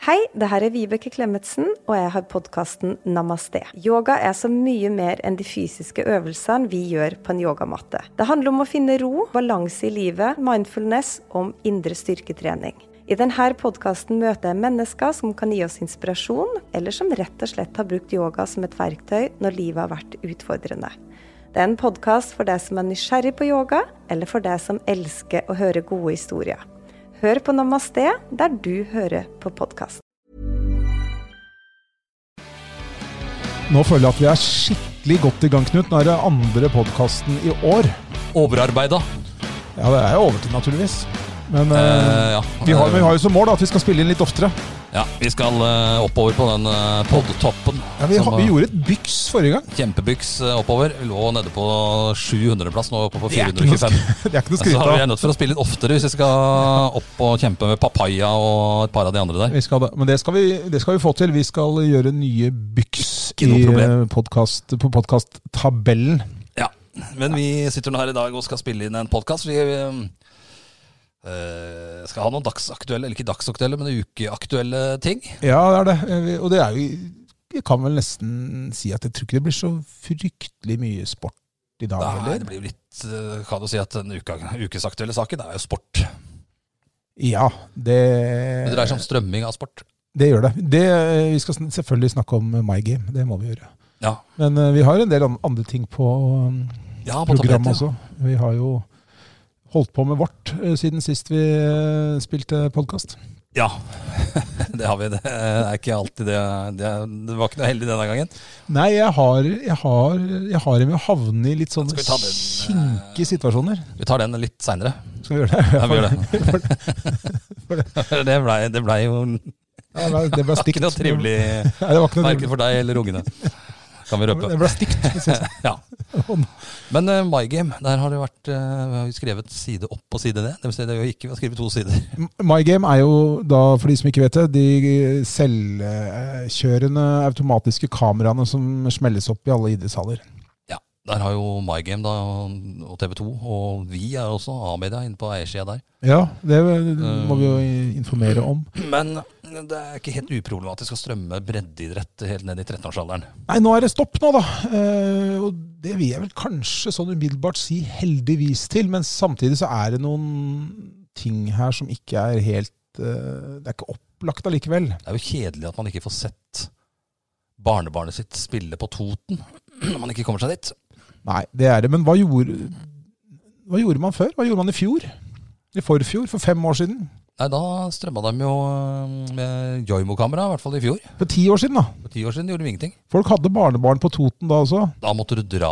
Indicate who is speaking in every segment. Speaker 1: Hei, det her er Vibeke Klemetsen, og jeg har podkasten Namaste. Yoga er så mye mer enn de fysiske øvelsene vi gjør på en yogamatte. Det handler om å finne ro, balanse i livet, mindfulness og om indre styrketrening. I denne podkasten møter jeg mennesker som kan gi oss inspirasjon, eller som rett og slett har brukt yoga som et verktøy når livet har vært utfordrende. Det er en podkast for deg som er nysgjerrig på yoga, eller for deg som elsker å høre gode historier. Hør på Namaste der du hører på podkast.
Speaker 2: Nå føler jeg at vi er skikkelig godt i gang, Knut. Nå er det andre podkasten i år.
Speaker 3: Overarbeida.
Speaker 2: Ja, det er jo overtid, naturligvis. Men eh,
Speaker 3: Eh, ja.
Speaker 2: vi, har, vi har jo som mål da, at vi skal spille inn litt oftere.
Speaker 3: ja. Vi skal eh, oppover på den eh, podtoppen.
Speaker 2: Ja, vi, har,
Speaker 3: Som,
Speaker 2: vi
Speaker 3: eh,
Speaker 2: gjorde et byks forrige gang.
Speaker 3: Kjempebyks eh, oppover. Vi lå nede på 700-plass, nå oppe på
Speaker 2: Det er ikke noe
Speaker 3: 425.
Speaker 2: sk- det er ikke noe å
Speaker 3: Så
Speaker 2: skryte
Speaker 3: vi
Speaker 2: av.
Speaker 3: er nødt for å spille litt oftere hvis vi skal opp og kjempe med Papaya og et par av de andre der.
Speaker 2: Vi skal, det. men det skal, vi, det skal vi få til. Vi skal gjøre nye byks
Speaker 3: Ikke noe
Speaker 2: i,
Speaker 3: problem.
Speaker 2: eh, podcast, på podkasttabellen.
Speaker 3: Ja, Men vi sitter nå her i dag og skal spille inn en podkast. Vi eh, skal ha noen dagsaktuelle, eller ikke dagsaktuelle, men ukeaktuelle ting.
Speaker 2: Ja, det er det. Eh, vi- Og det er jo Jeg kan vel nesten si at jeg tror ikke det blir så fryktelig mye sport i dag
Speaker 3: Nei,
Speaker 2: heller.
Speaker 3: det blir jo litt eh, Kan du si at den uka, ukesaktuelle saken er jo sport.
Speaker 2: Ja, det
Speaker 3: Det dreier seg om strømming av sport.
Speaker 2: Det gjør det. det eh, vi skal sn- selvfølgelig snakke om eh, My Game. Det må vi gjøre.
Speaker 3: Ja,
Speaker 2: Men eh, vi har en del an- andre ting på um,
Speaker 3: ja på
Speaker 2: programmet også.
Speaker 3: tapeten.
Speaker 2: Vi har jo holdt på med vårt eh, siden sist vi eh, spilte podkast.
Speaker 3: Ja, det har vi. Det er ikke alltid det. Det, er- det var ikke noe heldig denne gangen.
Speaker 2: Nei, jeg har, jeg har, jeg har med å havne i litt sånne
Speaker 3: Skal vi ta den, eh,
Speaker 2: kinkige situasjoner.
Speaker 3: Vi tar den litt seinere.
Speaker 2: Skal vi gjøre det?
Speaker 3: Ja, vi gjør det. Det blei ble jo
Speaker 2: Ja, det ble- det ble
Speaker 3: ikke
Speaker 2: stygt.
Speaker 3: noe trivelig,
Speaker 2: Nei, det var ikke noe
Speaker 3: verken
Speaker 2: trivelig.
Speaker 3: for deg eller ungene. Kan vi
Speaker 2: Det
Speaker 3: røpe.
Speaker 2: ble stygt. hvis jeg sier
Speaker 3: Ja.
Speaker 2: sånn.
Speaker 3: Men eh, MyGame, der har det vært eh, Vi har jo skrevet side opp og side ned. Det vil si, det er jo ikke, vi har skrevet to sider.
Speaker 2: MyGame er jo da, for de som ikke vet det, de selvkjørende automatiske kameraene som smelles opp i alle idrettshaller.
Speaker 3: Ja, Der har jo MyGame da, og TV 2 og vi er også A-media inne på eiersida der.
Speaker 2: Ja, det må vi jo informere om.
Speaker 3: Men det er ikke helt uproblematisk å strømme breddeidrett helt ned i 13-årsalderen.
Speaker 2: Nei, nå er det stopp nå, da. Eh, og det vil jeg vel kanskje sånn umiddelbart si heldigvis til, men samtidig så er det noen ting her som ikke er helt eh, Det er ikke opplagt allikevel.
Speaker 3: Det er jo kjedelig at man ikke får sett barnebarnet sitt spille på Toten når man ikke kommer seg dit.
Speaker 2: Nei, det er det. Men hva gjorde, hva gjorde man før? Hva gjorde man i fjor? I forfjor? For fem år siden?
Speaker 3: Nei, da strømma de jo øh, med Joimo-kamera, i hvert fall i fjor.
Speaker 2: For ti år siden, da.
Speaker 3: For ti år siden gjorde de ingenting.
Speaker 2: Folk hadde barnebarn på Toten da også.
Speaker 3: Da måtte du dra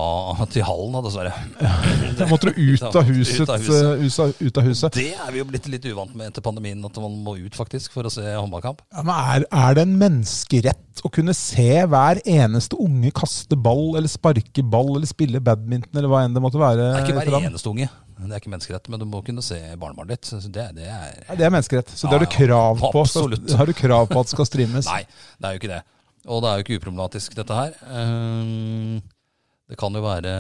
Speaker 3: til hallen, da, dessverre.
Speaker 2: Da måtte du ut av huset.
Speaker 3: Ut av huset.
Speaker 2: eh, Ut av, ut av huset.
Speaker 3: Det er vi jo blitt litt uvant med etter pandemien, at man må ut faktisk for å se håndballkamp.
Speaker 2: Ja, men er, er det en menneskerett å kunne se hver eneste unge kaste ball, eller sparke ball, eller spille badminton, eller hva enn det måtte være?
Speaker 3: Det er ikke hver
Speaker 2: for ham?
Speaker 3: eneste unge. Det er ikke menneskerett, men du må kunne se barnebarnet ditt. Så Det, det er
Speaker 2: Nei, det er menneskerett, så det har du
Speaker 3: Ja, ja,
Speaker 2: krav på. Så,
Speaker 3: absolutt.
Speaker 2: det har du krav på at skal streames.
Speaker 3: Nei, det er jo ikke det. Og det er jo ikke uproblematisk, dette her. Ehm, Det kan jo være,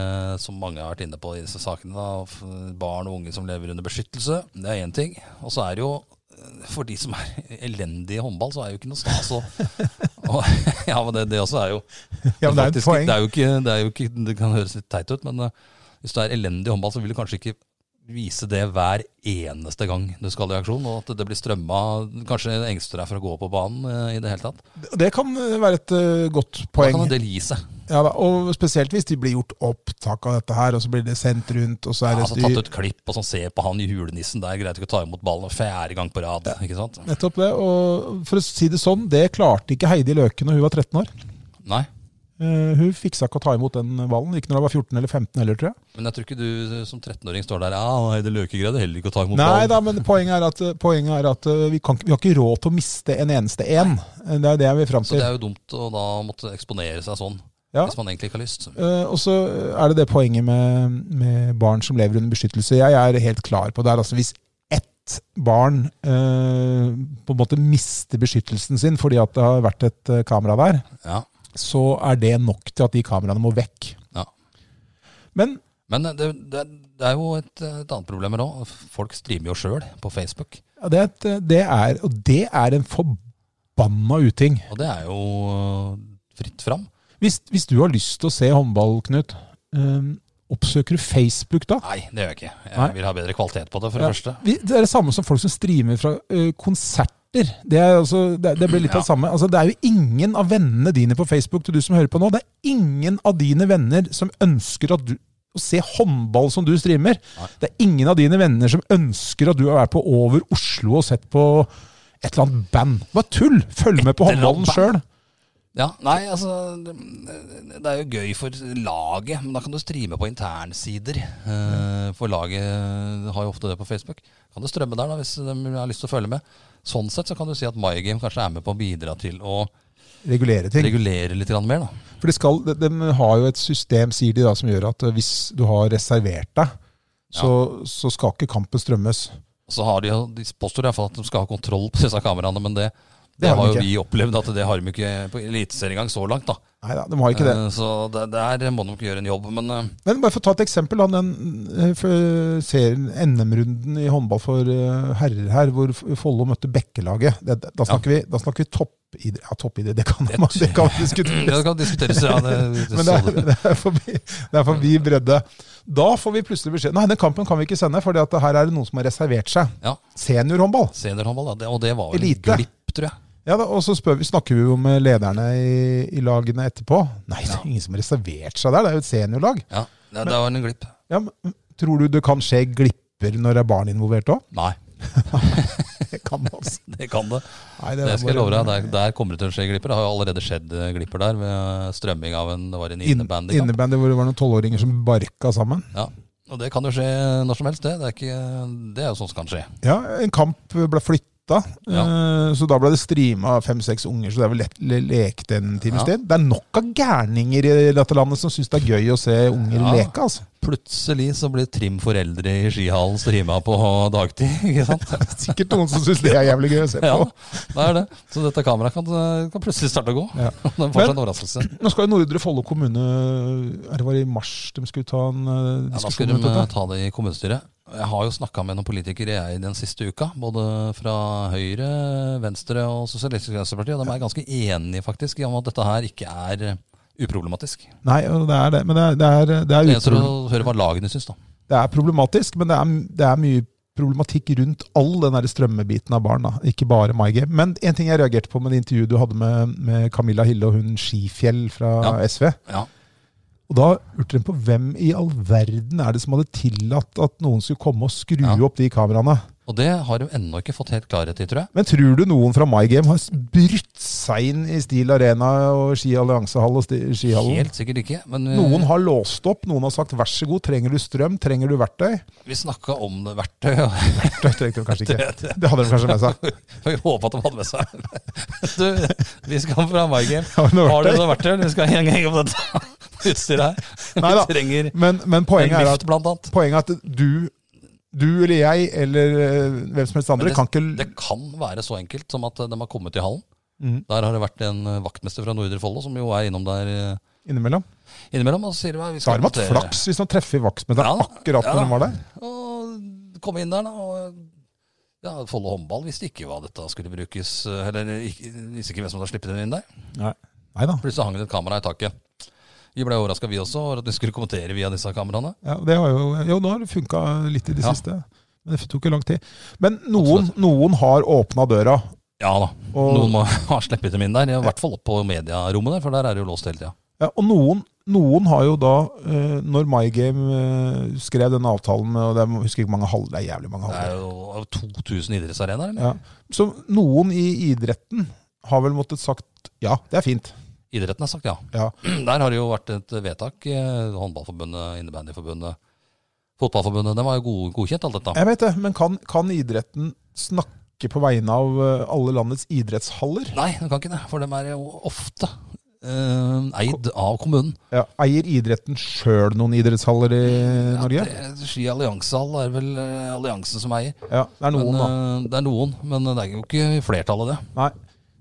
Speaker 3: som mange har vært inne på i disse sakene, da, f- barn og unge som lever under beskyttelse. Det er én ting. Og så er det jo, eh, for de som er elendige i håndball, så er det jo ikke noe stas å å- Ja, men det, det også er jo
Speaker 2: ja, men det er et
Speaker 3: faktisk-
Speaker 2: poeng.
Speaker 3: Det, er jo ikke, det, er jo ikke, det kan høres litt teit ut, men eh, hvis du er elendig i håndball, så vil du kanskje ikke vise det hver eneste gang du skal i aksjon, og at det blir strømma Kanskje engster deg for å gå på banen eh, i det hele tatt.
Speaker 2: Det kan eh, være et eh, godt
Speaker 3: Da
Speaker 2: poeng.
Speaker 3: kan en del gi seg.
Speaker 2: Ja, da, og spesielt hvis de blir gjort opptak av dette her, og så blir det sendt rundt, og så er
Speaker 3: Ja,
Speaker 2: det
Speaker 3: altså
Speaker 2: styr.
Speaker 3: Tatt ut klipp og sånn, se på han i julenissen der, greide ikke å ta imot ballen fjerde gang på rad. ikke sant?
Speaker 2: Nettopp det. Og for å si det sånn, det klarte ikke Heidi Løken når hun var 13 år.
Speaker 3: Nei,
Speaker 2: Eh, hun fiksa ikke å ta imot den ballen. Ikke når hun var 14 eller 15 heller, tror jeg.
Speaker 3: men jeg tror ikke du som 13-åring står der ja, nei, det løker greide heller ikke å ta imot
Speaker 2: Nei
Speaker 3: ballen.
Speaker 2: da, men poenget er at, poenget er at eh, vi, kan, ikke- vi har ikke råd til å miste en eneste en. Eh, Det er jo det jeg vil fram
Speaker 3: Så
Speaker 2: til.
Speaker 3: det er jo dumt å da måtte eksponere seg sånn,
Speaker 2: Ja.
Speaker 3: hvis man egentlig ikke har lyst.
Speaker 2: Eh, og så er det det poenget med, med barn som lever under beskyttelse. Jeg er helt klar på det. her, Altså, hvis ett barn eh, på en måte mister beskyttelsen sin fordi at det har vært et eh, kamera der,
Speaker 3: Ja.
Speaker 2: så er det nok til at de kameraene må vekk.
Speaker 3: Ja.
Speaker 2: Men
Speaker 3: Men det, det, det er jo et, et annet problem her òg. Folk streamer jo sjøl på Facebook.
Speaker 2: ja, det, er et, eh, det er Og det er en forbanna uting.
Speaker 3: Og det er jo eh, fritt fram.
Speaker 2: Hvis, hvis du har lyst til å se håndball, Knut, eh, oppsøker du Facebook da?
Speaker 3: Nei, det gjør jeg ikke. Jeg
Speaker 2: Nei.
Speaker 3: vil ha bedre kvalitet på det, for
Speaker 2: Ja.
Speaker 3: det første.
Speaker 2: Vi, det er det samme som folk som streamer fra ø, konserter. Det, er altså, det, det blir litt av det samme. Altså, det er jo ingen av vennene dine på Facebook til du som hører på nå. Det er ingen av dine venner som ønsker at du å se håndball som du streamer. Det er ingen av dine venner som ønsker at du har vært på Over Oslo og sett på et eller annet band. Bare tull! Følg med på
Speaker 3: eller annet
Speaker 2: håndballen sjøl.
Speaker 3: Ja, nei, altså Det det er jo gøy for laget, men da kan du streame på internsider. Eh, For laget eh, har jo ofte det på Facebook. Kan du strømme der da, hvis de har lyst til å følge med. Sånn sett så kan du si at MyGame kanskje er med på å bidra til å
Speaker 2: Regulere ting.
Speaker 3: regulere litt grann mer. da.
Speaker 2: For de, skal, de, de har jo et system, sier de, da, som gjør at ø, hvis du har reservert deg, så, så skal ikke kampen strømmes.
Speaker 3: Og Så har de, jo- de påstår i hvert fall at de skal ha kontroll på disse kameraene, men det, det,
Speaker 2: har de
Speaker 3: har jo
Speaker 2: ikke.
Speaker 3: vi opplevd at det har de ikke på Eliteserien engang så langt. da.
Speaker 2: Nei da, de har ikke det.
Speaker 3: Eh, Så det, der må de ikke gjøre en jobb. Men eh,
Speaker 2: Men bare for å ta et eksempel, da, den eh, for serien NM-runden i håndball for eh, herrer her, hvor F- Follo møtte Bekkelaget. Det, da, snakker vi, da snakker vi toppidrett. Ja, toppidrett, det kan man det kan man diskutere.
Speaker 3: det kan diskuteres. ja, det, det,
Speaker 2: Men det er, det, er forbi, det er forbi bredde. Da får vi plutselig beskjed Nei, den kampen kan vi ikke sende, for her er det noen som har reservert seg.
Speaker 3: Ja.
Speaker 2: Seniorhåndball.
Speaker 3: Seniorhåndball, da. Det, og det var vel en
Speaker 2: Elite.
Speaker 3: glipp, tror jeg.
Speaker 2: Ja, da, og så spør vi, snakker vi jo med lederne i, i lagene etterpå. Nei, det er ingen som har reservert seg der. Det er jo et seniorlag.
Speaker 3: Ja, det, det var en glipp.
Speaker 2: Ja, men, mm, tror du det kan skje glipper når det er barn involvert òg?
Speaker 3: Nei,
Speaker 2: Det kan man altså.
Speaker 3: det kan det.
Speaker 2: Nei,
Speaker 3: Det skal jeg love deg. Der,
Speaker 2: bare-
Speaker 3: der kommer det til å skje glipper. Det har jo allerede skjedd eh, glipper der ved strømming av en det var en
Speaker 2: In-
Speaker 3: innebandykamp.
Speaker 2: innebandy hvor det var noen tolvåringer som barka sammen.
Speaker 3: Ja. Og det kan jo skje når som helst, det. Det er, ikke, det er jo sånt som kan skje.
Speaker 2: Ja, En kamp ble flytta, eh, så da ble det streama fem-seks unger. Så det er vel lett le lekte en times
Speaker 3: Ja.
Speaker 2: tid. Det er nok av gærninger i dette landet som syns det er gøy å se unger
Speaker 3: Ja.
Speaker 2: leke. altså.
Speaker 3: Plutselig så blir Trim foreldre i skihallen streama på dagtid, ikke sant?
Speaker 2: Sikkert noen som syns det er jævlig gøy å se på.
Speaker 3: Ja, det er det. Så dette kameraet kan, eh, kan plutselig starte å gå.
Speaker 2: Ja.
Speaker 3: Det får seg en overraskelse.
Speaker 2: Nå skal jo Nordre Follo kommune er Det var i mars de skulle ta en eh,
Speaker 3: Ja, da
Speaker 2: diskusjon
Speaker 3: skal de
Speaker 2: rundt dette.
Speaker 3: ta det i kommunestyret. Jeg har jo snakka med noen politikere jeg den siste uka, både fra Høyre, Venstre og Sosialistisk Venstreparti, og de er ganske enige faktisk i om at dette her ikke er eh, uproblematisk.
Speaker 2: Nei, det er det. Men det er, det er, det er
Speaker 3: Det gjenstår å
Speaker 2: utro-
Speaker 3: høre hva lagene syns, da.
Speaker 2: Det er problematisk, men det er, det er mye problematikk rundt all den der strømmebiten av barn. da. Ikke bare MyGame. Men en ting jeg reagerte på med det intervjuet du hadde med, med Camilla Hille og hun Skifjell fra
Speaker 3: Ja.
Speaker 2: SV.
Speaker 3: Ja.
Speaker 2: Og da lurte de på hvem i all verden er det som hadde tillatt at noen skulle komme og skru
Speaker 3: Ja.
Speaker 2: opp de kameraene.
Speaker 3: Og det har de ennå ikke fått helt klarhet i, tror jeg.
Speaker 2: Men tror du noen fra MyGame har brutt seg inn i Stil Arena og Ski Alliansehall og Sti- Skihallen?
Speaker 3: Helt sikkert ikke. Men eh,
Speaker 2: Noen har låst opp, noen har sagt 'vær så god, trenger du strøm, trenger du verktøy'?
Speaker 3: vi snakka om det verktøyet.
Speaker 2: Det trengte de kanskje ikke. Det hadde de kanskje med seg.
Speaker 3: Jeg håper at de hadde med seg Du, vi skal fra MyGame.
Speaker 2: Har du noe
Speaker 3: Har dere
Speaker 2: verktøy?
Speaker 3: noe verktøy? Vi skal henge henge opp dette utstyret her.
Speaker 2: Neida.
Speaker 3: Vi trenger
Speaker 2: Men, men poenget,
Speaker 3: en
Speaker 2: er
Speaker 3: lift,
Speaker 2: at,
Speaker 3: blant annet.
Speaker 2: poenget er at du, du eller jeg eller eh, hvem som helst andre
Speaker 3: Men
Speaker 2: kan ikke
Speaker 3: Det Mm. kan være så enkelt som at eh, de har kommet i hallen.
Speaker 2: Mhm.
Speaker 3: Der har det vært en eh, vaktmester fra Nordre Follo som jo er innom der eh,
Speaker 2: innimellom.
Speaker 3: innimellom. Og så sier de "Nei, vi
Speaker 2: Da
Speaker 3: skal
Speaker 2: har de hatt
Speaker 3: notere."
Speaker 2: flaks hvis de treffer vaktmesteren
Speaker 3: Ja da,
Speaker 2: akkurat
Speaker 3: ja
Speaker 2: når de
Speaker 3: da.
Speaker 2: var der.
Speaker 3: Og komme inn der, da. Og, ja, Follo håndball visste ikke hva dette skulle brukes eh, Eller ikke, visste ikke hvem som hadde sluppet den inn der.
Speaker 2: Nei. da.
Speaker 3: Plutselig hang det et kamera i taket. Vi ble overraska, vi også, over at vi skulle kommentere via disse kameraene.
Speaker 2: Ja, det har jo, jo, nå har det funka litt i det
Speaker 3: Ja.
Speaker 2: siste. Men det tok jo lang tid. Men noen, noen har åpna døra.
Speaker 3: Ja da.
Speaker 2: Og,
Speaker 3: Noen må ha sluppet dem inn der. I hvert fall opp på medierommet der, for der er det jo låst hele tida.
Speaker 2: ja, og noen, noen har jo da, eh, når MyGame eh, skrev denne avtalen med og det er, jeg husker ikke mange halv, det er jævlig mange
Speaker 3: Det
Speaker 2: halvdeler.
Speaker 3: er jo 2000 idrettsarenaer. eller?
Speaker 2: Ja. Så noen i idretten har vel måttet sagt ja, det er fint.
Speaker 3: Idretten har sagt ja.
Speaker 2: Ja.
Speaker 3: Der har det jo vært et vedtak. eh, Håndballforbundet, innebandyforbundet, fotballforbundet. De var jo god, godkjent, alt dette.
Speaker 2: Jeg vet det, men kan, kan idretten snakke på vegne av eh, alle landets idrettshaller?
Speaker 3: Nei, de kan ikke det. For de er jo ofte eh, eid av kommunen.
Speaker 2: Ja, eier idretten sjøl noen idrettshaller i Norge?
Speaker 3: Ja, det- Ski alliansehall er vel eh, alliansen som eier.
Speaker 2: Ja, det er
Speaker 3: Men,
Speaker 2: noen, da.
Speaker 3: eh, det er noen, men det er jo ikke flertallet, det.
Speaker 2: Nei.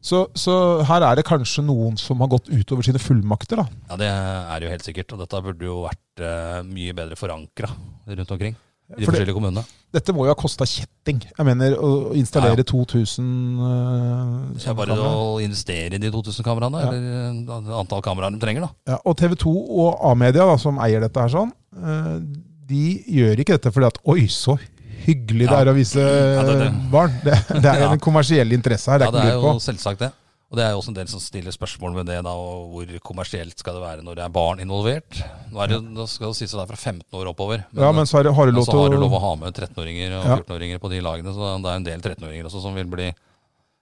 Speaker 2: Så, så her er det kanskje noen som har gått utover sine fullmakter, da.
Speaker 3: Ja, Det er jo helt sikkert. Og dette burde jo vært eh, mye bedre forankra rundt omkring. i de
Speaker 2: For det-
Speaker 3: forskjellige kommunene.
Speaker 2: Dette må jo ha kosta kjetting. Jeg mener, å å installere
Speaker 3: Ja, ja.
Speaker 2: 2000 eh,
Speaker 3: Det er bare
Speaker 2: kameraer.
Speaker 3: å investere i de 2000 kameraene,
Speaker 2: Ja.
Speaker 3: eller eh, antall kameraer de trenger. da.
Speaker 2: Ja, og TV 2 og A-media, da, som eier dette her sånn, eh, de gjør ikke dette fordi at Oi, så hyggelig det
Speaker 3: Ja.
Speaker 2: er å vise
Speaker 3: Ja, det er det.
Speaker 2: eh, barn. Det, det er
Speaker 3: Ja.
Speaker 2: en kommersiell interesse her. Det er
Speaker 3: Ja, det
Speaker 2: ikke
Speaker 3: er
Speaker 2: lurt
Speaker 3: jo
Speaker 2: på.
Speaker 3: selvsagt det. Og det er jo også en del som stiller spørsmål med det, da, og hvor kommersielt skal det være når det er barn involvert? Nå, er det, nå skal det sies at det er fra 15 år oppover.
Speaker 2: Ja, men så har, har du lov
Speaker 3: så har du
Speaker 2: til
Speaker 3: lov
Speaker 2: å
Speaker 3: å ha med 13-åringer og
Speaker 2: Ja.
Speaker 3: 14-åringer på de lagene, så det er en del 13-åringer også som vil bli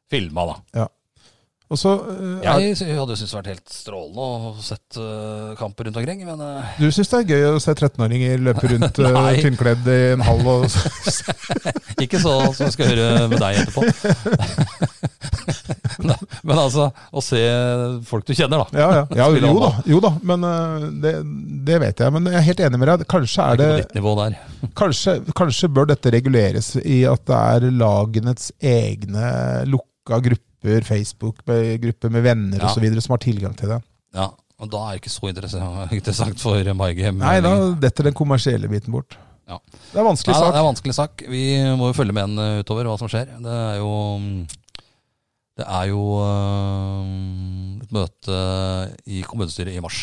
Speaker 3: filma, da.
Speaker 2: Og så eh, er,
Speaker 3: Jeg sy- hadde jo syntes det vært helt strålende å sett eh, kamper rundt omkring, men eh,
Speaker 2: Du syns det er gøy å se 13-åringer løpe rundt eh,
Speaker 3: Nei.
Speaker 2: tynnkledd i en hall og
Speaker 3: ikke så som vi skal høre med deg etterpå. Nei, men altså, å se folk du kjenner, da.
Speaker 2: Ja, ja. ja
Speaker 3: Spille
Speaker 2: jo, da,
Speaker 3: håndball.
Speaker 2: jo da, men eh, det, det vet jeg. Men jeg er helt enig med deg. Kanskje er det
Speaker 3: Det er ikke noe ditt nivå der.
Speaker 2: Kanskje, kanskje bør dette reguleres i at det er lagenes egne lukka grupper, Facebook-grupper med venner
Speaker 3: Ja.
Speaker 2: og osv. som har tilgang til det.
Speaker 3: Ja, og da er det ikke så interesse- interessant for Margem.
Speaker 2: Nei, da detter den kommersielle biten bort.
Speaker 3: Ja.
Speaker 2: Det er en vanskelig
Speaker 3: Nei, da, det er
Speaker 2: sak.
Speaker 3: en vanskelig sak. Vi må jo følge med en eh, utover hva som skjer. Det er jo mm, Det er jo eh, et møte i kommunestyret i mars.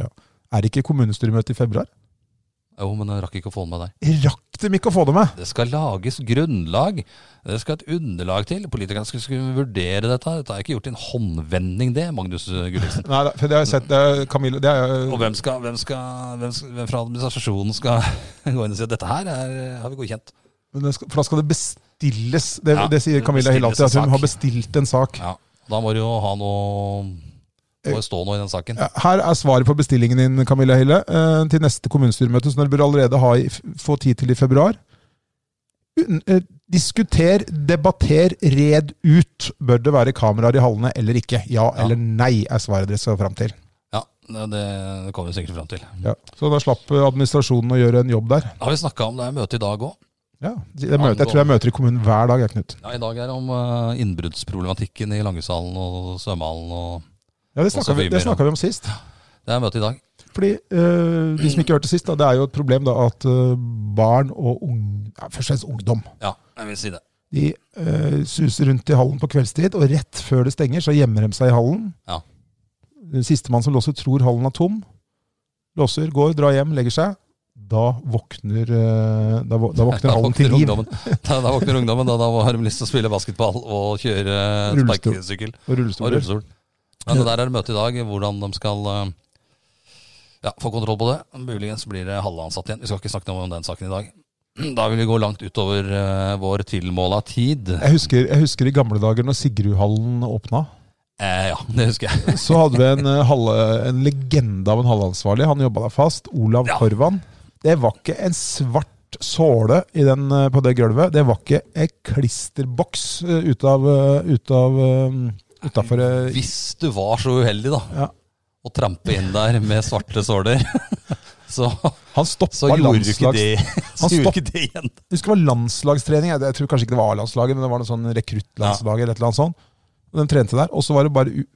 Speaker 2: Er det ikke kommunestyremøte i februar?
Speaker 3: Jo, men jeg rakk ikke å få den med deg.
Speaker 2: Jeg Rakk dem ikke å få det med!
Speaker 3: Det skal lages grunnlag. Det skal et underlag til. Politikerne skal, skal vurdere dette. Dette er ikke gjort i en håndvending, det, Magnus Gulliksen.
Speaker 2: Nei, da, for det har jeg sett. Det er Camille, det er,
Speaker 3: Og hvem, skal, hvem, skal, hvem, skal, hvem fra administrasjonen skal gå inn og si at dette her er, har vi godkjent?
Speaker 2: men det skal, for da skal det bestilles. Det,
Speaker 3: Ja,
Speaker 2: det sier
Speaker 3: det
Speaker 2: Camilla helt alltid,
Speaker 3: bestilles
Speaker 2: at hun
Speaker 3: en sak.
Speaker 2: har bestilt en sak.
Speaker 3: Ja, da må du jo ha noe Må jo stå noe i den saken.
Speaker 2: Ja, Her er svaret på bestillingen din, Camilla Hille, eh, til neste kommunestyremøte, som dere bør allerede ha i, f- få tid til i februar. Un- eh, Diskuter, debatter, red ut. Bør det være kameraer i hallene eller ikke? Ja,
Speaker 3: Ja.
Speaker 2: eller nei, er svaret dere skal fram til.
Speaker 3: Ja, det, det kommer vi sikkert fram til.
Speaker 2: Ja. Så da slapp eh, administrasjonen å gjøre en jobb der.
Speaker 3: Har vi snakka om det er møte i dag òg?
Speaker 2: Ja, det møter, jeg tror jeg møter i kommunen hver dag, jeg, Knut.
Speaker 3: Ja, I dag er det om eh, innbruddsproblematikken i Langesalen og Svømmehallen. Og
Speaker 2: Ja, Det
Speaker 3: så
Speaker 2: snakka vi,
Speaker 3: mye
Speaker 2: det
Speaker 3: mer om-
Speaker 2: snakket vi om sist.
Speaker 3: det er møte i dag.
Speaker 2: Fordi eh, De som ikke hørte sist, da, det er jo et problem da, at eh, barn og ung, ja, først og fremst ungdom
Speaker 3: Ja, jeg vil si det.
Speaker 2: De eh, suser rundt i hallen på kveldstid, og rett før det stenger, så gjemmer de seg i hallen.
Speaker 3: Ja.
Speaker 2: Sistemann som låser, tror hallen er tom. Låser, går, drar hjem, legger seg. Da våkner, eh, da, vå- da våkner
Speaker 3: Da
Speaker 2: hallen til
Speaker 3: våkner
Speaker 2: liv,
Speaker 3: ungdommen, da, da, våkner ungdommen da, da har de lyst til å spille basketball og kjøre eh,
Speaker 2: Rullestol.
Speaker 3: sparkesykkel
Speaker 2: og
Speaker 3: og
Speaker 2: rullestoler.
Speaker 3: rullestol. Ja, det der er det møte i dag, hvordan de skal eh, ja, få kontroll på det. Muligens blir det halvansatt igjen. Vi skal ikke snakke noe om den saken i dag. Da vil vi gå langt utover eh, vår tilmåla tid.
Speaker 2: Jeg husker, jeg husker i gamle dager når Sigrudhallen åpna.
Speaker 3: Eh, ja, det husker jeg.
Speaker 2: Så hadde vi en, eh, halle, en legende av en hallansvarlig. Han jobba der fast. Olav
Speaker 3: Ja.
Speaker 2: Korvan. Det var ikke en svart såle i den, eh, på det gulvet. Det var ikke en klisterboks eh, ut av, eh, ut av eh, Utafor eh,
Speaker 3: Hvis du var så uheldig, da,
Speaker 2: Ja.
Speaker 3: å trampe inn der med svarte såler, så,
Speaker 2: Han stoppa
Speaker 3: så gjorde du ikke
Speaker 2: landslags...
Speaker 3: det, så
Speaker 2: Han
Speaker 3: gjorde
Speaker 2: stopp-
Speaker 3: ikke det igjen.
Speaker 2: Jeg husker det var landslagstrening. Jeg, jeg tror kanskje ikke det var A-landslaget, men det var noe sånn rekruttlandslag eller et eller annet sånt. Og de trente der. Og så var det bare u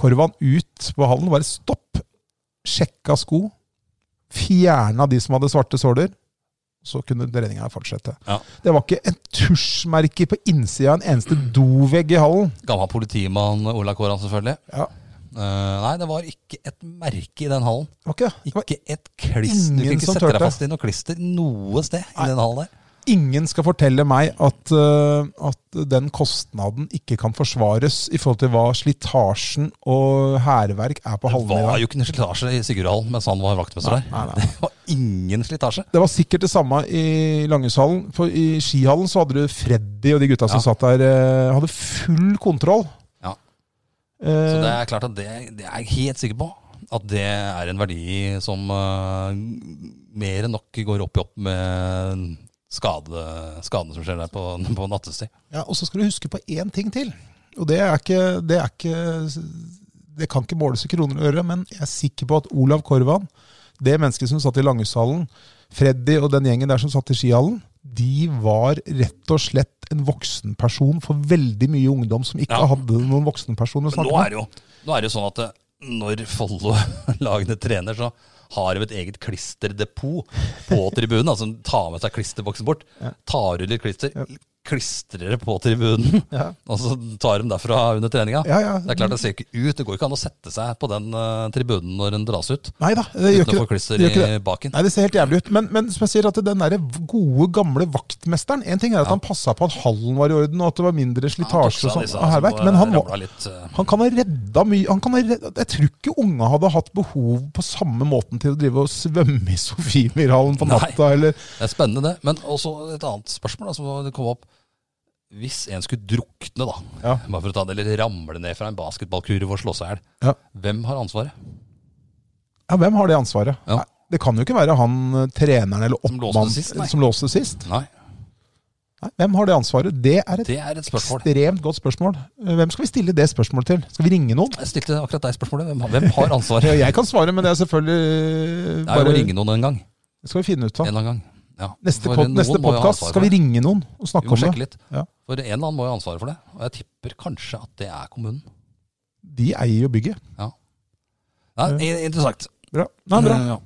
Speaker 2: Korvan ut på hallen. Bare stopp. Sjekka sko. Fjerna de som hadde svarte såler. Så kunne treninga fortsette.
Speaker 3: Ja.
Speaker 2: Det var ikke et tusjmerke på innsida av en eneste dovegg i hallen.
Speaker 3: Gammel politimann Ola Kåran, selvfølgelig.
Speaker 2: Ja.
Speaker 3: Eh, nei, det var ikke et merke i den hallen.
Speaker 2: Det var ikke det. det var,
Speaker 3: Ikke et klister. Du
Speaker 2: ingen
Speaker 3: fikk ikke
Speaker 2: som
Speaker 3: sette deg
Speaker 2: turte.
Speaker 3: fast i noe klister noe sted
Speaker 2: Nei.
Speaker 3: i den hallen der.
Speaker 2: ingen skal fortelle meg at, eh, at den kostnaden ikke kan forsvares i forhold til hva slitasjen og hærverk er på
Speaker 3: Det
Speaker 2: hallene i dag.
Speaker 3: var jo ikke noe slitasje i Sigurdhallen mens han var vaktmester der.
Speaker 2: Nei, nei.
Speaker 3: Det var ingen slitasje.
Speaker 2: Det var sikkert det samme i Langeshallen. For i skihallen så hadde du Freddy og de gutta som
Speaker 3: Ja.
Speaker 2: satt der, eh, hadde full kontroll.
Speaker 3: Ja.
Speaker 2: Eh,
Speaker 3: Så det er klart at det, det er jeg helt sikker på. At det er en verdi som eh, mer enn nok går opp i opp med skade, skadene som skjer der på, på nattestid.
Speaker 2: ja, og så skal du huske på én ting til. Og det er ikke Det, er ikke, det kan ikke måles i kroner og øre, men jeg er sikker på at Olav Korvan, det mennesket som satt i Langhushallen, Freddy og den gjengen der som satt i skihallen, de var rett og slett en voksenperson for veldig mye ungdom som ikke
Speaker 3: Ja.
Speaker 2: hadde noen voksenperson å
Speaker 3: Men
Speaker 2: snakke
Speaker 3: nå
Speaker 2: med.
Speaker 3: er det jo, nå er det jo sånn at eh, når Follo-lagene trener, så har jo et eget klisterdepot på tribunen. altså de Tar med seg klisterboksen bort, tar ut litt klister, klistrer det på tribunen.
Speaker 2: Ja.
Speaker 3: Og så tar de derfra under treninga.
Speaker 2: Ja, ja.
Speaker 3: Det er klart det ser ikke ut. Det går ikke an å sette seg på den eh, tribunen når den dras ut.
Speaker 2: Nei da, det gjør ikke
Speaker 3: Uten å få
Speaker 2: det.
Speaker 3: klister
Speaker 2: det, gjør ikke det.
Speaker 3: i baken.
Speaker 2: Nei, Det ser helt jævlig ut. Men, men som jeg sier, at den der gode, gamle vaktmesteren En ting er at han passa på at hallen var i orden, og at det var mindre slitasje og
Speaker 3: tok seg av
Speaker 2: sånn.
Speaker 3: disse,
Speaker 2: og hærverk,
Speaker 3: som, eh,
Speaker 2: Men han,
Speaker 3: ramla
Speaker 2: var,
Speaker 3: litt, eh,
Speaker 2: han kan ha redda mye han kan ha redda, Jeg tror ikke unga hadde hatt behov på samme måten til å drive og svømme i Sofiemyrhallen på
Speaker 3: Nei.
Speaker 2: natta, eller
Speaker 3: Det er spennende, det. Men også et annet spørsmål da, som kom opp. Hvis en skulle drukne, da,
Speaker 2: Ja.
Speaker 3: bare for å ta det, eller ramle ned fra en basketballkurv og slå seg i hjel,
Speaker 2: Ja.
Speaker 3: hvem har ansvaret?
Speaker 2: Ja, hvem har det ansvaret?
Speaker 3: Ja.
Speaker 2: Nei, det kan jo ikke være han eh, treneren eller
Speaker 3: Som låste
Speaker 2: oppmannen
Speaker 3: sist, nei.
Speaker 2: som låste sist.
Speaker 3: Nei,
Speaker 2: Nei, hvem har det ansvaret? Det er et
Speaker 3: det er et spørsmål.
Speaker 2: ekstremt godt spørsmål. Eh, Hvem skal vi stille det spørsmålet til? Skal vi ringe noen?
Speaker 3: Jeg stilte akkurat deg spørsmålet. Hvem, har- hvem har
Speaker 2: Ja,
Speaker 3: ansvaret?
Speaker 2: Jeg kan svare, men det er selvfølgelig eh,
Speaker 3: Det er jo å
Speaker 2: bare,
Speaker 3: ringe noen en gang.
Speaker 2: Det skal vi finne ut
Speaker 3: En
Speaker 2: av.
Speaker 3: eller annen gang. Ja.
Speaker 2: Neste,
Speaker 3: For
Speaker 2: pod,
Speaker 3: noen
Speaker 2: neste
Speaker 3: må jo ha
Speaker 2: podkast
Speaker 3: ansvaret
Speaker 2: skal
Speaker 3: for
Speaker 2: vi
Speaker 3: det.
Speaker 2: ringe noen og
Speaker 3: Vi
Speaker 2: snakke
Speaker 3: må
Speaker 2: om
Speaker 3: sjekke
Speaker 2: det.
Speaker 3: litt.
Speaker 2: Ja.
Speaker 3: For en eller annen må jo ha ansvaret for det. Og jeg tipper kanskje at det er kommunen.
Speaker 2: De eier jo bygget.
Speaker 3: Nei, interessant.
Speaker 2: Bra. Nei, bra.
Speaker 3: Ja.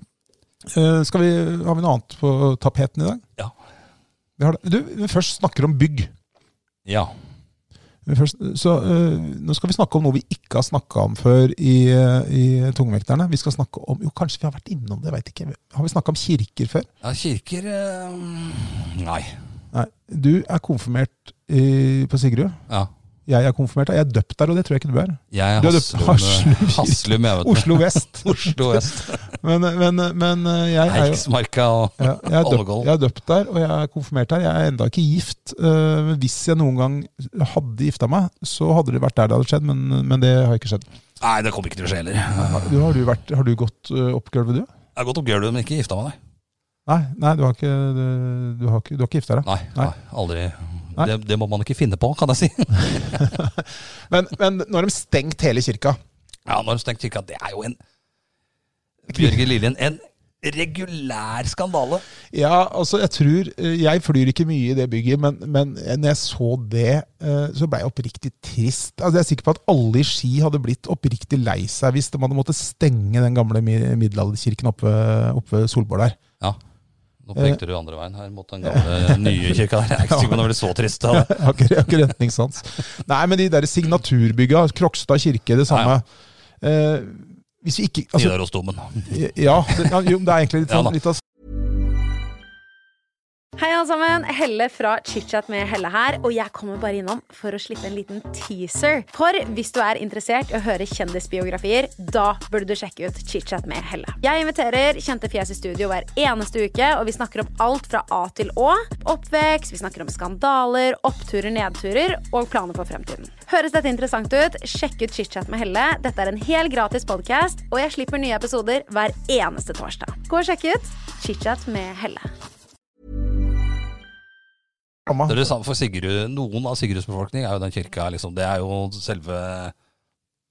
Speaker 2: Eh, skal vi, har vi noe annet på tapeten i dag?
Speaker 3: Ja.
Speaker 2: Vi har det. Du, vi først snakker om bygg.
Speaker 3: ja.
Speaker 2: Men Først, så øh, Nå skal vi snakke om noe vi ikke har snakka om før i, øh, i Tungvekterne. Vi skal snakke om, jo Kanskje vi har vært innom det, veit ikke. Har vi snakka om kirker før?
Speaker 3: ja kirker eh, Nei.
Speaker 2: Nei. Du er konfirmert i, på Sigrud.
Speaker 3: Ja.
Speaker 2: Jeg er konfirmert der. Jeg er døpt der, og det tror jeg ikke du er.
Speaker 3: Jeg
Speaker 2: Du
Speaker 3: er
Speaker 2: er døpt- Haslum
Speaker 3: Haslum,
Speaker 2: kirke.
Speaker 3: Haslum jeg vet det.
Speaker 2: Oslo vest.
Speaker 3: Oslo vest.
Speaker 2: Men, men, men øh, jeg er jo
Speaker 3: Eiksmarka og
Speaker 2: ja, jeg, er døpt,
Speaker 3: Alvdal.
Speaker 2: jeg er døpt der, og jeg er konfirmert der. Jeg er enda ikke gift. øh, Men hvis jeg noen gang hadde gifta meg, så hadde det vært der det hadde skjedd, men, men det har ikke skjedd.
Speaker 3: Nei, det kommer ikke til å skje heller. Jeg
Speaker 2: Du, har, du vært, har du gått øh, opp gulvet, du?
Speaker 3: har gått opp gulvet, men ikke gifta meg, nei.
Speaker 2: Nei, nei du, har ikke, du, du, har ikke, du har ikke gifta deg.
Speaker 3: Nei, nei,
Speaker 2: Nei.
Speaker 3: aldri.
Speaker 2: Nei.
Speaker 3: Det, det må man ikke finne på, kan jeg si.
Speaker 2: Men, men nå har de stengt hele kirka.
Speaker 3: Ja, Når du tenker kirka, det er jo en Bjørge Liljen, en regulær skandale.
Speaker 2: Ja, altså jeg tror, eh, jeg flyr ikke mye i det bygget, men, men når jeg så det, eh, så ble jeg oppriktig trist. Altså Jeg er sikker på at alle i Ski hadde blitt oppriktig lei seg hvis de hadde måttet stenge den gamle mi- middelalderkirken oppe, oppe Solborg der.
Speaker 3: Ja. Nå
Speaker 2: Eh.
Speaker 3: pekte du andre veien her mot den gamle, nye kirka der. Jeg er ikke sikker på om det blir så trist av det.
Speaker 2: Jeg har ikke, jeg har ikke retningssans. Nei, men de der signaturbygga, Krokstad kirke, det samme. Eh, hvis vi ikke altså,
Speaker 3: Nidarosdomen.
Speaker 2: Ja, det, ja, jo, det er egentlig litt,
Speaker 3: Ja da.
Speaker 2: sånn, litt av
Speaker 4: Hei, alle sammen. Helle fra ChitChat med Helle her. Og jeg kommer bare innom for å slippe en liten teaser. For hvis du er interessert i å høre kjendisbiografier, da burde du sjekke ut ChitChat med Helle. Jeg inviterer kjente fjes i studio hver eneste uke, og vi snakker om alt fra A til Å. Oppvekst, vi snakker om skandaler, oppturer, nedturer og planer for fremtiden. Høres dette interessant ut? Sjekk ut ChitChat med Helle. Dette er en hel gratis podkast, og jeg slipper nye episoder hver eneste torsdag. Gå og sjekk ut ChitChat med Helle.
Speaker 2: samme.
Speaker 3: Det er det samme for Sigrud. Noen av Sigruds befolkning er jo den kirka, liksom. Det er jo selve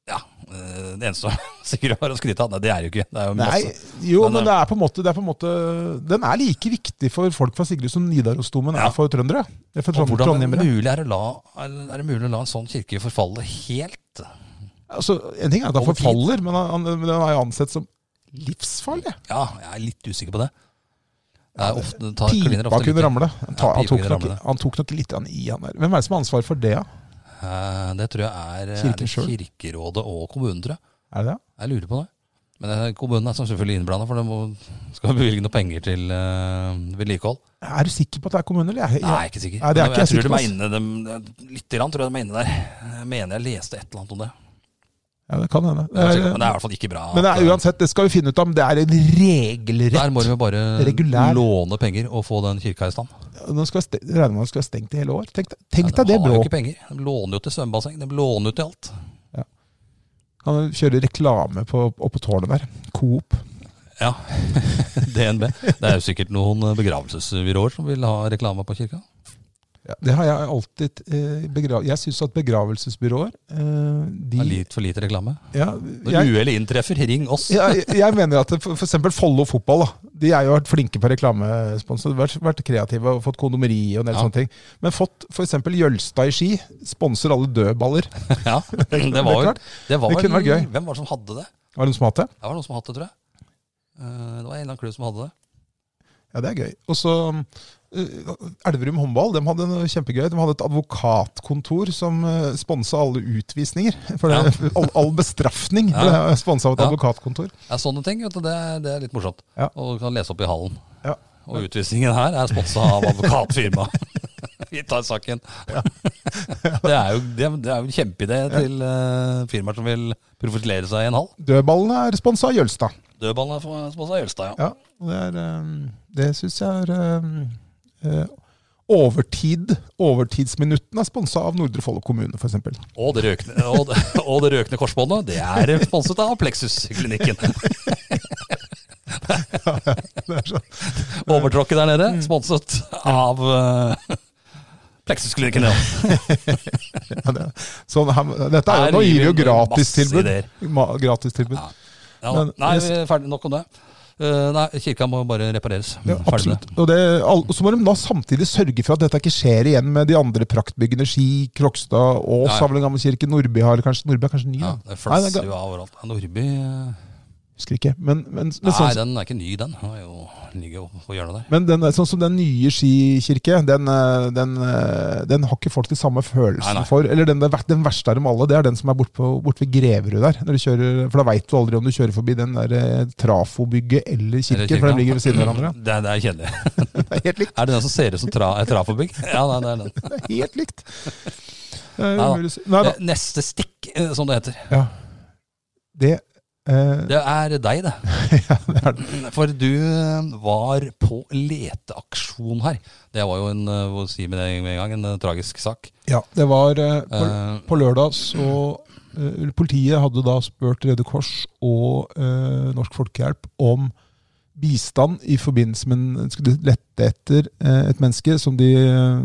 Speaker 3: Ja. eh, Det eneste Sigrud har å skryte av. Nei, det er jo ikke. Det er jo masse.
Speaker 2: Nei, jo,
Speaker 3: Men, eh,
Speaker 2: men det er på en måte, det er på en måte Den er like viktig for folk fra Sigrud som Nidarosdomen
Speaker 3: Ja.
Speaker 2: er for trøndere. Det er for
Speaker 3: Og
Speaker 2: trond-
Speaker 3: hvordan er det,
Speaker 2: trondheimere.
Speaker 3: mulig er, å la, er det mulig å la en sånn kirke forfalle helt?
Speaker 2: Altså, en ting er at den
Speaker 3: Over tid.
Speaker 2: forfaller, men han- han- men den er jo ansett som livsfarlig.
Speaker 3: Ja, jeg er litt usikker på det. Det er ofte, det tar, kliner
Speaker 2: Pipa
Speaker 3: ofte
Speaker 2: kunne
Speaker 3: litt-
Speaker 2: ramle. Han, tar,
Speaker 3: Ja,
Speaker 2: han,
Speaker 3: pipa
Speaker 2: tok
Speaker 3: kunne ramle.
Speaker 2: nok, han tok nok litt grann i, han der. Hvem er det som har ansvar for det? da?
Speaker 3: Eh, Det tror jeg er, er
Speaker 2: Kirken
Speaker 3: det
Speaker 2: selv?
Speaker 3: Kirkerådet og kommunen, tror jeg.
Speaker 2: Er det det?
Speaker 3: Jeg lurer på det. Men eh, kommunen er som selvfølgelig innblanda, for de må, skal bevilge noe penger til eh, vedlikehold.
Speaker 2: Er du sikker på at det er kommune, eller? Jeg- jeg-
Speaker 3: Nei, jeg er ikke sikker.
Speaker 2: Nei, det er
Speaker 3: Men
Speaker 2: ikke jeg
Speaker 3: jeg tror de er
Speaker 2: sikker
Speaker 3: inne de, Litt grann tror jeg de er inne der. Jeg mener jeg leste et eller annet om det.
Speaker 2: Ja, det kan hende. Eh,
Speaker 3: Men det er, sikkert- men det
Speaker 2: men
Speaker 3: er i hvert fall ikke bra.
Speaker 2: det
Speaker 3: at,
Speaker 2: er
Speaker 3: eh,
Speaker 2: uansett, det skal vi finne ut av, men det er en
Speaker 3: Der må
Speaker 2: regelrett.
Speaker 3: vi bare
Speaker 2: Regulær.
Speaker 3: låne penger og få den kirka i stand.
Speaker 2: Nå skal jeg ste- regner med at det skal være stengt i hele år. Tenk, deg- tenk
Speaker 3: Ja,
Speaker 2: deg det
Speaker 3: De har jo
Speaker 2: bråket.
Speaker 3: ikke penger. De låner jo til svømmebasseng. De låner jo til alt.
Speaker 2: Kan kjøre reklame på, oppå tårnet der. Coop.
Speaker 3: Ja, DNB. Det er jo sikkert noen eh, begravelsesbyråer som vil ha reklame på kirka.
Speaker 2: Ja, det har jeg alltid eh, begrav... Jeg syns at begravelsesbyråer eh, de,
Speaker 3: Det er litt for lite reklame.
Speaker 2: ja,
Speaker 3: Når
Speaker 2: jeg,
Speaker 3: uhellet inntreffer, ring oss.
Speaker 2: ja, jeg- jeg mener at for, for eksempel Follo fotball da, de er jo vært flinke på reklamesponsor. Vært, vært kreative og fått kondomeri og en del
Speaker 3: Ja.
Speaker 2: sånne ting. Men fått f.eks. Jølstad i Ski sponser alle dødballer.
Speaker 3: Ja, det var
Speaker 2: det er
Speaker 3: jo
Speaker 2: klart.
Speaker 3: det var
Speaker 2: Det kunne
Speaker 3: vel-
Speaker 2: vært gøy.
Speaker 3: Hvem var det som hadde det?
Speaker 2: Var det noen som hatt det?
Speaker 3: Det var noen som hadde det, tror jeg. Eh, Det var en eller annen klubb som hadde det.
Speaker 2: Ja, det er gøy. Og så eh, Elverum håndball de hadde noe kjempegøy. De hadde et advokatkontor som uh, sponsa alle utvisninger. For det, all, all bestraffning
Speaker 3: Ja.
Speaker 2: ble sponsa av et
Speaker 3: Ja.
Speaker 2: advokatkontor.
Speaker 3: Ja, sånne ting, vet du, det, er- det er litt morsomt.
Speaker 2: Ja.
Speaker 3: Og du kan lese opp i hallen.
Speaker 2: Ja.
Speaker 3: Og utvisningen her er sponsa av advokatfirmaet. Vi tar saken. det er jo det, det er jo en kjempeidé til eh, firmaer som vil profilere seg i en hall.
Speaker 2: Dødballene er sponsa av Jølstad.
Speaker 3: Dødballen er for- sponsa av Jølstad, ja.
Speaker 2: Ja, og det er, eh, det syns jeg er eh, eh, Overtid, Overtidsminuttene er sponsa av Nordre Follo kommune, f.eks.
Speaker 3: Og det røkne, og det, og det røkne korsbåndet, det er sponset av Plexus-klinikken.
Speaker 2: sånn,
Speaker 3: Overtråkket der nede, sponset av eh, Plexus-klinikken, ja.
Speaker 2: Ja, det, sånn, her- dette er
Speaker 3: Her
Speaker 2: jo, nå
Speaker 3: gir
Speaker 2: gir vi jo
Speaker 3: vi
Speaker 2: gratistilbud.
Speaker 3: masse
Speaker 2: Ma- Gratistilbud.
Speaker 3: Ja. ja
Speaker 2: Men-
Speaker 3: nei, vi er ferdig nok om det. Eh, nei, kirka må bare repareres.
Speaker 2: Ja,
Speaker 3: Ferdig med
Speaker 2: absolutt. Og, det, all- og så må de da samtidig sørge for at dette ikke skjer igjen med de andre praktbyggene. Ski, Krokstad, Ås
Speaker 3: Nei.
Speaker 2: har vel en gammel kirke. Norby har kanskje Norby er kanskje ny?
Speaker 3: det. Ja,
Speaker 2: da?
Speaker 3: det
Speaker 2: Nei, det
Speaker 3: fløsser
Speaker 2: er
Speaker 3: jo
Speaker 2: ga-
Speaker 3: av overalt. Ja, Nordby eh,
Speaker 2: Husker ikke. Men, men, men,
Speaker 3: Nei,
Speaker 2: sånn,
Speaker 3: den er ikke ny, den. Den er jo, ligger jo på hjørnet der.
Speaker 2: men den, sånn som den nye skikirke, den, eh, den, eh, den har ikke folk de samme følelsene
Speaker 3: Nei, nei.
Speaker 2: for. Eller den, der- den verste av dem alle, det er den som er borte bort ved Greverud der. Når du kjører, for da veit du aldri om du kjører forbi den der eh, trafobygget eller
Speaker 3: Eller
Speaker 2: kirken, for de ligger ved siden av hverandre.
Speaker 3: Det, er- det er kjedelig.
Speaker 2: Det er helt likt.
Speaker 3: Er det den som ser ut som tra, et trafobygg? Ja, nei, det er den.
Speaker 2: Det er helt likt. Det er
Speaker 3: Nei da.
Speaker 2: umulig å si. Nei da.
Speaker 3: Eh, Neste stikk, eh, som det heter.
Speaker 2: Ja. Det, eh,
Speaker 3: Det er deg, det.
Speaker 2: ja, det er det.
Speaker 3: For du eh, var på leteaksjon her. Det var jo en, eh, hva sier vi det med en gang, en eh, tragisk sak.
Speaker 2: Ja, det var eh, på,
Speaker 3: Eh,
Speaker 2: på lørdag så eh, Politiet hadde da spurt Røde Kors og eh, Norsk Folkehjelp om bistand i forbindelse med en skulle lette etter eh, et menneske som de eh,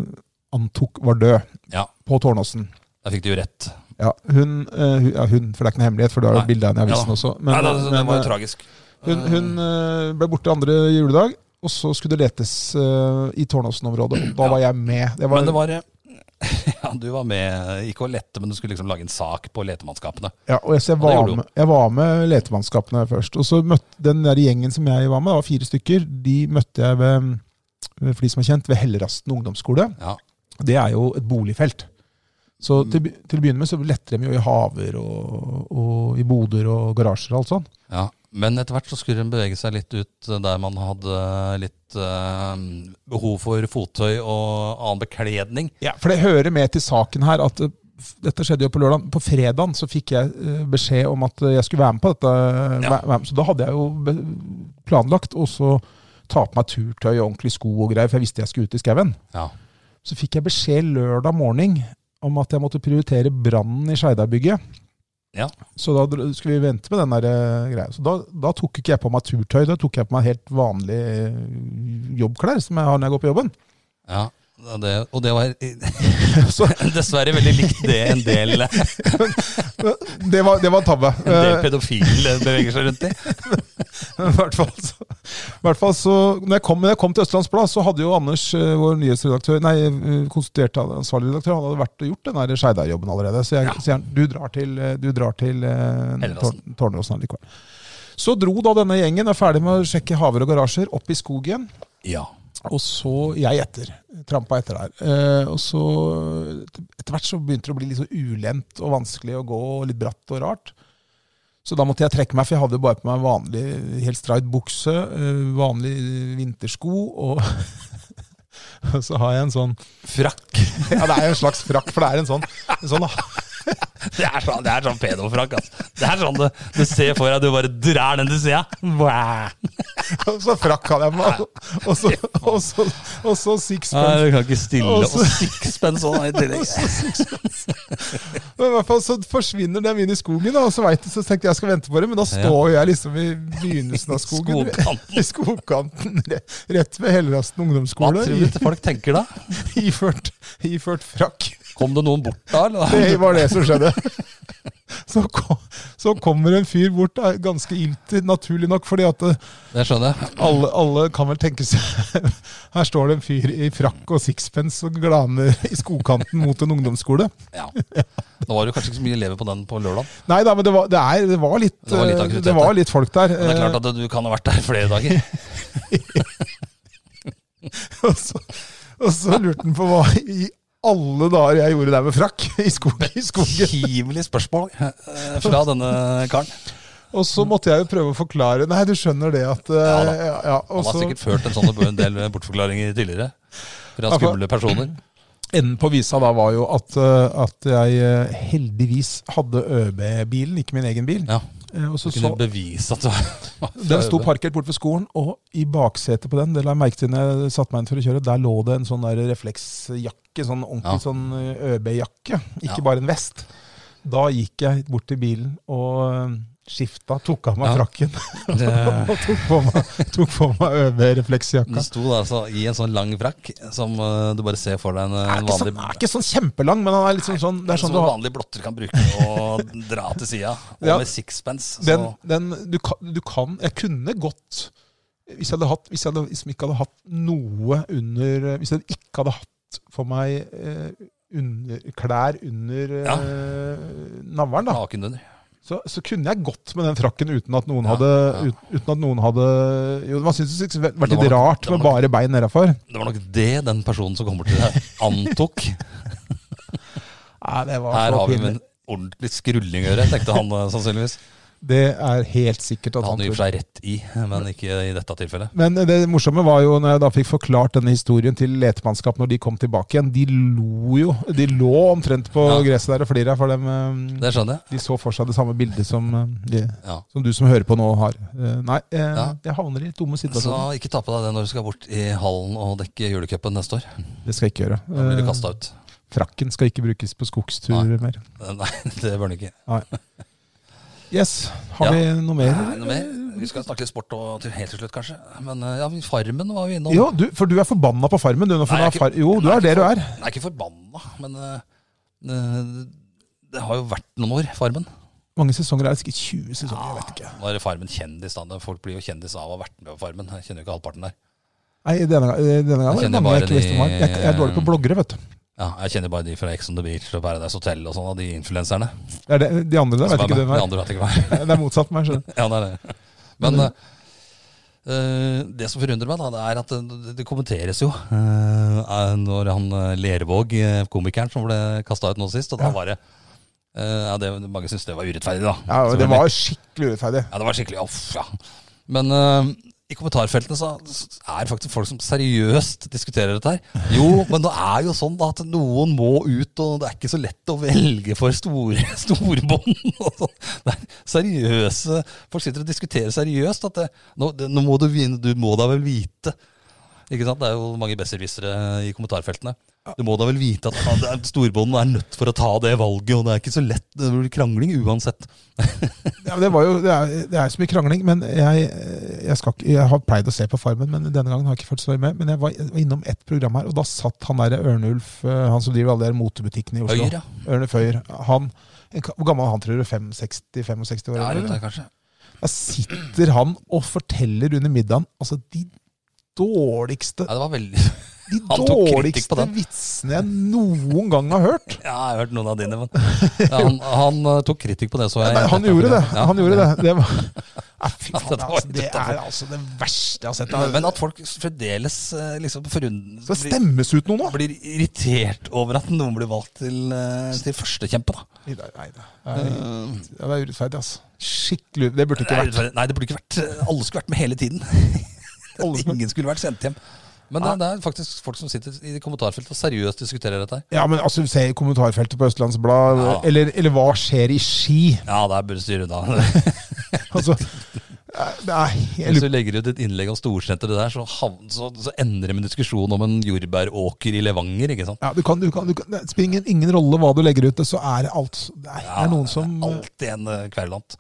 Speaker 2: antok var død
Speaker 3: Ja.
Speaker 2: på Tårnåsen.
Speaker 3: Der fikk du jo rett.
Speaker 2: Ja, hun, eh, hun, ja, hun, for det er ikke noe hemmelighet, for du har jo
Speaker 3: Nei.
Speaker 2: bilde av henne i avisen
Speaker 3: Ja da.
Speaker 2: også.
Speaker 3: Nei, det, det, det
Speaker 2: men,
Speaker 3: var
Speaker 2: eh,
Speaker 3: jo tragisk.
Speaker 2: Hun, hun eh, ble borte andre juledag, og så skulle det letes eh, i Tårnåsen-området. Og Da
Speaker 3: Ja.
Speaker 2: var jeg med. Det var,
Speaker 3: Men det var eh, Ja, du var med, ikke å lette, men du skulle liksom lage en sak på letemannskapene.
Speaker 2: ja, og jeg, så jeg,
Speaker 3: Og det
Speaker 2: var
Speaker 3: gjorde
Speaker 2: med, jeg var med letemannskapene først. Og så møtte den der gjengen som jeg var med, det var fire stykker, de møtte jeg ved, for de som er kjent, ved Hellerasten ungdomsskole.
Speaker 3: Ja.
Speaker 2: Det er jo et boligfelt. Så
Speaker 3: Mm.
Speaker 2: til, be- til å begynne med så letter de jo i haver og, og i boder og garasjer og alt sånt.
Speaker 3: ja. Men etter hvert så skulle den bevege seg litt ut eh, der man hadde litt eh, behov for fottøy og annen bekledning.
Speaker 2: Ja, for det hører med til saken her at eh, f- dette skjedde jo på lørdag. På fredagen så fikk jeg eh, beskjed om at eh, jeg skulle være med på dette.
Speaker 3: Ja.
Speaker 2: Væ- være med. Så da hadde jeg jo be- planlagt også ta på meg turtøy og ordentlig sko og greier, for jeg visste jeg skulle ut i skauen.
Speaker 3: Ja.
Speaker 2: Så fikk jeg beskjed lørdag morgen om at jeg måtte prioritere brannen i Skeidarbygget.
Speaker 3: Ja.
Speaker 2: Så da dro- skulle vi vente med den der eh, greia. Så da, da tok ikke jeg på meg turtøy, da tok jeg på meg helt vanlige eh, jobbklær som jeg har når jeg går på jobben.
Speaker 3: ja. Og Det, og det var
Speaker 2: Så
Speaker 3: dessverre veldig likt det en del
Speaker 2: det var, det var en tabbe.
Speaker 3: En del
Speaker 2: Eh,
Speaker 3: pedofile beveger seg rundt i.
Speaker 2: I hvert fall så, i hvert fall så når jeg, kom, når jeg kom til Østlands Blad, så hadde jo Anders, eh, vår nyhetsredaktør, nei, eh, konstituert ansvarlig redaktør, han hadde vært og gjort den der Skeidar-jobben allerede. Så jeg
Speaker 3: Ja.
Speaker 2: sier han, du drar til, eh, du drar til eh,
Speaker 3: Helleråsen.
Speaker 2: Tårn- Tårnåsen allikevel. Så dro da denne gjengen, er ferdig med å sjekke haver og garasjer, opp i skogen.
Speaker 3: Ja.
Speaker 2: Og så jeg etter. Trampa etter der. Eh, og så Etter hvert så begynte det å bli litt så ulendt og vanskelig å gå, og litt bratt og rart. Så da måtte jeg trekke meg, for jeg hadde jo bare på meg vanlig helt streit bukse, eh, vanlig vintersko, og og så har jeg en sånn
Speaker 3: Frakk.
Speaker 2: Ja, det er jo en slags frakk, for det er en sånn, en sånn
Speaker 3: Det er sånn, det er sånn pedofrakk, altså. Det er sånn du, du ser for deg, du bare drar den til sida. Nei,
Speaker 2: og Så frakk hadde jeg på meg, og så, og så, og så sixpence
Speaker 3: du kan ikke stille
Speaker 2: Og
Speaker 3: opp.
Speaker 2: så-
Speaker 3: Og sixpence òg, i tillegg.
Speaker 2: Men i hvert fall så forsvinner dem inn i skogen, da, og så, vet, jeg- så tenkte jeg jeg skal vente på det, men da står jeg liksom i begynnelsen av skogen.
Speaker 3: Skogkanten.
Speaker 2: I skogkanten, re- rett ved Hellerasten
Speaker 3: Hva
Speaker 2: ungdomsskole,
Speaker 3: tror du at folk tenker da?
Speaker 2: i- iført, iført frakk.
Speaker 3: Kom det noen bort da? Eller?
Speaker 2: Det var det som skjedde. så, ko- så kommer en fyr bort, er ganske ilter, naturlig nok, fordi at eh,
Speaker 3: Det skjønner jeg.
Speaker 2: alle, alle kan vel tenke seg Her står det en fyr i frakk og sixpence og glaner i skogkanten mot en ungdomsskole.
Speaker 3: Ja. Nå var det jo kanskje ikke så mye elever på den på lørdag.
Speaker 2: Nei da, men det var, det er, det var, litt,
Speaker 3: Det var litt aktivitet,
Speaker 2: eh, det var
Speaker 3: da.
Speaker 2: litt folk der.
Speaker 3: Men det er klart at du kan ha vært der flere dager.
Speaker 2: Og så, og så lurte han på hva i alle dager jeg gjorde der med frakk i, skog, i skogen.
Speaker 3: Hivelig spørsmål eh, fra denne karen.
Speaker 2: Og så måtte jeg jo prøve å forklare. Nei, du skjønner det at eh,
Speaker 3: Ja da.
Speaker 2: ja, ja.
Speaker 3: Han
Speaker 2: Og
Speaker 3: har
Speaker 2: så
Speaker 3: sikkert ført en sånn en del bortforklaringer tidligere. Fra skumle personer.
Speaker 2: Enden på visa da var jo at, eh, at jeg eh, heldigvis hadde ØB-bilen, ikke min egen bil.
Speaker 3: Ja,
Speaker 2: Eh, Og så, så
Speaker 3: Kunne bevise at du var
Speaker 2: Den sto parkert borte ved skolen, og i baksetet på den, det la jeg merke til når jeg satte meg inn for å kjøre, der lå det en sånn der refleksjakke, sånn ordentlig
Speaker 3: Ja.
Speaker 2: sånn eh, ØB-jakke, ikke
Speaker 3: Ja.
Speaker 2: bare en vest. Da gikk jeg bort til bilen og eh, skifta, tok av meg
Speaker 3: Ja.
Speaker 2: frakken
Speaker 3: Det-
Speaker 2: og tok på meg, tok på meg
Speaker 3: Den
Speaker 2: ØB-refleksjakka.
Speaker 3: sto da altså i en sånn lang frakk som eh, du bare ser for deg en, eh,
Speaker 2: Den er ikke,
Speaker 3: en vanlig
Speaker 2: sånn, den er ikke sånn kjempelang, men den er liksom sånn, det er sånn
Speaker 3: som
Speaker 2: du
Speaker 3: en
Speaker 2: har
Speaker 3: vanlig blotter kan bruke og dra til sida. Og
Speaker 2: Ja.
Speaker 3: med sixpence. Så
Speaker 2: den, den, du, kan, du kan Jeg kunne godt Hvis jeg, hadde hatt, hvis jeg hadde, liksom ikke hadde hatt noe under Hvis jeg ikke hadde hatt for meg eh, under, klær under
Speaker 3: Ja.
Speaker 2: eh, navlen, da,
Speaker 3: naken under.
Speaker 2: så, så kunne jeg gått med den frakken uten at noen
Speaker 3: Ja,
Speaker 2: hadde
Speaker 3: ja.
Speaker 2: ut, Uten at noen hadde Jo, man syns det hadde vært
Speaker 3: Det
Speaker 2: litt
Speaker 3: var nok-
Speaker 2: rart
Speaker 3: det var
Speaker 2: med
Speaker 3: nok-
Speaker 2: bare bein nedafor.
Speaker 3: Det var nok det den personen som kommer til deg, antok.
Speaker 2: Nei, det var
Speaker 3: Her
Speaker 2: så
Speaker 3: har vi
Speaker 2: pinlig.
Speaker 3: med en ordentlig skrulling å gjøre, tenkte han eh, sannsynligvis.
Speaker 2: Det er helt sikkert
Speaker 3: Det
Speaker 2: at
Speaker 3: hadde han i
Speaker 2: tok-
Speaker 3: og for seg rett i, men ikke i dette tilfellet.
Speaker 2: Men det morsomme var jo når jeg da fikk forklart denne historien til letemannskapet når de kom tilbake igjen. De lo jo. De lå omtrent på
Speaker 3: Ja.
Speaker 2: gresset der og flira, for dem, eh,
Speaker 3: Det skjønner jeg.
Speaker 2: de så for seg det samme bildet som, eh, de,
Speaker 3: Ja.
Speaker 2: som du som hører på nå, har. Eh, Nei, eh,
Speaker 3: Ja.
Speaker 2: jeg havner i dumme
Speaker 3: Så
Speaker 2: situasjoner.
Speaker 3: ikke ta på deg det når du skal bort i hallen og dekke julecupen neste år.
Speaker 2: Det skal jeg ikke gjøre.
Speaker 3: Da blir du
Speaker 2: Eh,
Speaker 3: kasta ut.
Speaker 2: Frakken skal ikke brukes på skogsturer
Speaker 3: Nei.
Speaker 2: mer.
Speaker 3: Nei, det bør du ikke.
Speaker 2: Yes, har
Speaker 3: Ja.
Speaker 2: vi noe mer?
Speaker 3: Nei, noe mer? Vi skal snakke litt sport og til helt til slutt, kanskje. Men eh, ja, Farmen var vi innom.
Speaker 2: Jo, du, for du er forbanna på Farmen. Du, nå, for
Speaker 3: Nei,
Speaker 2: nå er
Speaker 3: jeg er
Speaker 2: far... Jo, du
Speaker 3: Nei,
Speaker 2: er det du
Speaker 3: ikke
Speaker 2: er.
Speaker 3: for- Jeg er ikke forbanna, men eh, eh, det har jo vært noen år, Farmen.
Speaker 2: Mange sesonger er det sikkert 20 sesonger. Jeg vet ikke.
Speaker 3: Nå er det Farmen kjendis. da. Det- Folk blir jo kjendis av å ha vært med på Farmen. Jeg kjenner jo ikke halvparten der.
Speaker 2: Nei, denne, denne gangen var det
Speaker 3: kjenner
Speaker 2: mange
Speaker 3: bare
Speaker 2: jeg ikke visste om. var.
Speaker 3: de-
Speaker 2: Jeg, jeg er dårlig på bloggere, vet du.
Speaker 3: Ja, jeg kjenner bare de fra Ex on the Beach og Paradise Hotel og sånn, av de influenserne.
Speaker 2: Det er det, de andre der
Speaker 3: som
Speaker 2: vet
Speaker 3: er
Speaker 2: ikke
Speaker 3: med.
Speaker 2: hvem
Speaker 3: De
Speaker 2: er.
Speaker 3: andre vet ikke hva.
Speaker 2: Det er motsatt meg. skjønner du.
Speaker 3: Ja, det er det. Men eh, eh, det som forundrer meg, da, det er at det, det kommenteres jo eh, eh, når han eh, Lervåg, eh, komikeren som ble kasta ut nå sist, og da
Speaker 2: Ja.
Speaker 3: var det eh, ja, det, Mange syntes det var urettferdig, da.
Speaker 2: Ja, og Det var skikkelig urettferdig.
Speaker 3: Ja, det var skikkelig off, ja. Men eh, i kommentarfeltene så er det faktisk folk som seriøst diskuterer dette her. Jo, men det er jo sånn da at noen må ut, og det er ikke så lett å velge for store, storbånd. og sånn. Det er seriøse Folk sitter og diskuterer seriøst at det, nå, det, nå må du, vin- du må da vel vite ikke sant? Det er jo mange besserwissere i kommentarfeltene. Du må da vel vite at ja, det er- storbånden er nødt for å ta det valget, og det er ikke så lett. Det blir krangling uansett.
Speaker 2: Ja, men det, var jo, det, er, det er så mye krangling. Men jeg, jeg, skal ikke, jeg har pleid å se på Farmen, men denne gangen har jeg ikke fulgt så mye med. Men jeg var, jeg var innom ett program her, og da satt han der Ørnulf, eh, han som driver alle de der motebutikkene i Oslo.
Speaker 3: Høyre, ja.
Speaker 2: Ørnulf Øyer. Han, en, ka- hvor gammel er han, tror du? 65-65 år?
Speaker 3: Ja,
Speaker 2: eller?
Speaker 3: rundt der, kanskje.
Speaker 2: Da sitter han og forteller under middagen altså de dårligste,
Speaker 3: Ja, det var veldig
Speaker 2: de
Speaker 3: han tok kritikk på
Speaker 2: dårligste
Speaker 3: den.
Speaker 2: vitsene jeg noen gang har hørt.
Speaker 3: Ja, jeg har hørt noen av dine, men ja, han, han eh, tok kritikk på det. Så jeg,
Speaker 2: Nei, han gjorde det.
Speaker 3: Ja.
Speaker 2: Han gjorde det. Det var Nei, Fy
Speaker 3: Ja, det
Speaker 2: faen,
Speaker 3: var
Speaker 2: altså, det
Speaker 3: utenfor.
Speaker 2: er altså det verste jeg har sett.
Speaker 3: Men at folk fremdeles eh, liksom forund-
Speaker 2: Skal det stemmes ut noe nå?
Speaker 3: blir, blir irritert over at noen blir valgt til, eh, til førstekjempe. da.
Speaker 2: Nei, nei, nei. Ja, det er urettferdig, altså. Skikkelig Det burde ikke
Speaker 3: Nei,
Speaker 2: vært.
Speaker 3: det burde ikke vært eh, Alle skulle vært med hele tiden.
Speaker 2: Alle skulle-
Speaker 3: Ingen skulle vært sendt hjem. Men det, det er faktisk folk som sitter i kommentarfeltet og seriøst diskuterer dette. her.
Speaker 2: Ja, men altså, se i kommentarfeltet på Østlandsblad,
Speaker 3: Ja.
Speaker 2: eller, eller hva skjer i Ski?
Speaker 3: Ja, der burde styret da.
Speaker 2: Altså, det er
Speaker 3: Hvis
Speaker 2: helt
Speaker 3: du legger ut et innlegg om storsenteret der, så, havn- så, så ender det med en diskusjon om en jordbæråker i Levanger. ikke sant?
Speaker 2: ja, du kan, du kan, du kan, Det spiller ingen, ingen rolle hva du legger ut, det, så er det alt Det er, det er noen som
Speaker 3: Alltid en eh, kverulant.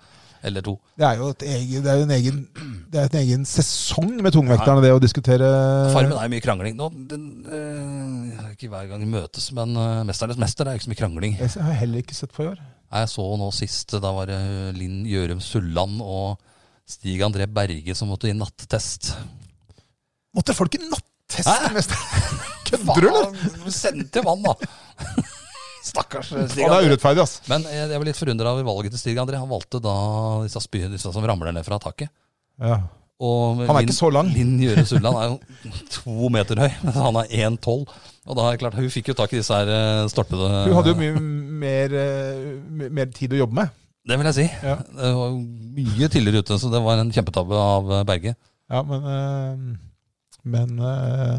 Speaker 3: Eller to.
Speaker 2: Det er jo et egen, det er jo en, egen, det er en egen sesong med tungvekterne, det å diskutere
Speaker 3: Farmen er jo mye krangling. Nå, den, eh, ikke hver gang vi møtes, men eh, Mesternes mester er jo ikke så mye krangling.
Speaker 2: Jeg har heller ikke sett på i år.
Speaker 3: Nei, Jeg så nå sist, da var det Linn Gjørum Sulland og Stig André Berge som måtte i nattest.
Speaker 2: Måtte folk i nattest
Speaker 3: Hæ?
Speaker 2: mest? Kødder du, eller?
Speaker 3: Faen, Send til vann, da! Stakkars eh, Stig
Speaker 2: Ja, det er
Speaker 3: André.
Speaker 2: urettferdig, ass.
Speaker 3: Men eh, jeg jeg var litt forundra over valget til Stig André. Han valgte da disse, spy, disse som ramler ned fra taket.
Speaker 2: Ja.
Speaker 3: Og
Speaker 2: Han er ikke så lang.
Speaker 3: Linn Gjøre Sulland er jo to meter høy, men han er 1,12. Og da er det klart, hun fikk jo tak i disse her eh, stolpede
Speaker 2: Hun hadde jo mye mer, eh, mer tid å jobbe med.
Speaker 3: Det vil jeg si.
Speaker 2: Ja.
Speaker 3: Det var jo mye tidligere ute, så det var en kjempetabbe av eh, Berge.
Speaker 2: Ja, men eh, Men eh,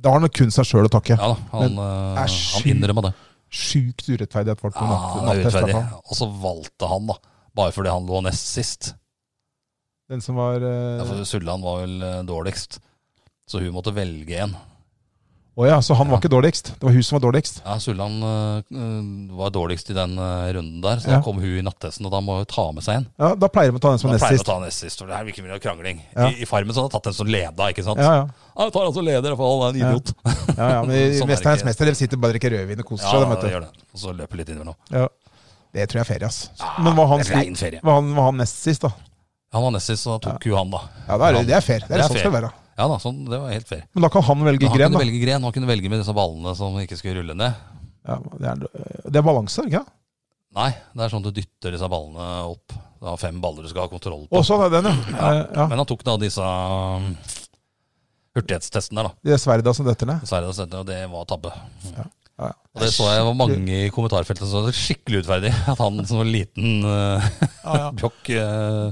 Speaker 2: da har han kun seg sjøl å takke.
Speaker 3: Ja da, han, eh,
Speaker 2: æsj.
Speaker 3: han innrømma det.
Speaker 2: Sjukt urettferdig at folk på
Speaker 3: Ja,
Speaker 2: natt,
Speaker 3: Ah, det
Speaker 2: nattest.
Speaker 3: er
Speaker 2: i hvert
Speaker 3: urettferdig.
Speaker 2: fall.
Speaker 3: Og så valgte han, da. Bare fordi han lå nest sist.
Speaker 2: Den som var
Speaker 3: Ja,
Speaker 2: eh,
Speaker 3: for Sulland var vel eh, dårligst. Så hun måtte velge en.
Speaker 2: Å ja, så han var
Speaker 3: Ja.
Speaker 2: ikke dårligst. Det var hun som var dårligst.
Speaker 3: Ja, Sulland eh, eh, var dårligst i den eh, runden der, så
Speaker 2: Ja.
Speaker 3: da kom hun i nattesten, og da må hun ta med seg en.
Speaker 2: Ja, Da pleier de å ta den som
Speaker 3: Da
Speaker 2: var nest
Speaker 3: pleier hun å
Speaker 2: sist.
Speaker 3: ta nest sist, for det her virker mye krangling.
Speaker 2: Ja.
Speaker 3: I, I Farmen så hadde hun tatt en som leda, ikke sant?
Speaker 2: Ja, ja.
Speaker 3: Ja, hun tar altså leder, for han er en
Speaker 2: Ja.
Speaker 3: idiot. Ja,
Speaker 2: ja, ja men i
Speaker 3: Sånn er det
Speaker 2: Mesterens
Speaker 3: ikke.
Speaker 2: mester de sitter bare og drikker rødvin og koser seg. dem,
Speaker 3: det
Speaker 2: vet du.
Speaker 3: gjør det. Og så løper litt innimellom.
Speaker 2: Ja. Det tror jeg er ferie, ass. Men var han,
Speaker 3: Ah, det er
Speaker 2: sli-
Speaker 3: rein ferie.
Speaker 2: var han, var han nest sist, da?
Speaker 3: Han var nest sist, så da tok jo han, da.
Speaker 2: Ja, da er det, det er fair. Det er,
Speaker 3: Det er
Speaker 2: sånn det
Speaker 3: fair.
Speaker 2: skal være.
Speaker 3: Ja da, sånn, det var helt fair.
Speaker 2: Men da kan han velge
Speaker 3: Men han
Speaker 2: gren,
Speaker 3: kunne
Speaker 2: da.
Speaker 3: velge gren, han kunne velge med disse ballene som ikke skulle rulle ned.
Speaker 2: Ja, det, er, det er balanse, ikke sant?
Speaker 3: Nei, det er sånn du dytter disse ballene opp. Du har fem baller du skal ha kontroll på.
Speaker 2: Å, sånn er den, ja.
Speaker 3: Ja,
Speaker 2: Eh, ja.
Speaker 3: Men han tok da disse um, hurtighetstestene, da.
Speaker 2: De sverda som detter ned.
Speaker 3: Dessverre, dessverre, og det var tabbe.
Speaker 2: Ja, ja.
Speaker 3: Og det så jeg var mange i kommentarfeltet som sa det skikkelig utferdig. At han som var liten uh,
Speaker 2: Ja, ja.
Speaker 3: bjokk eh,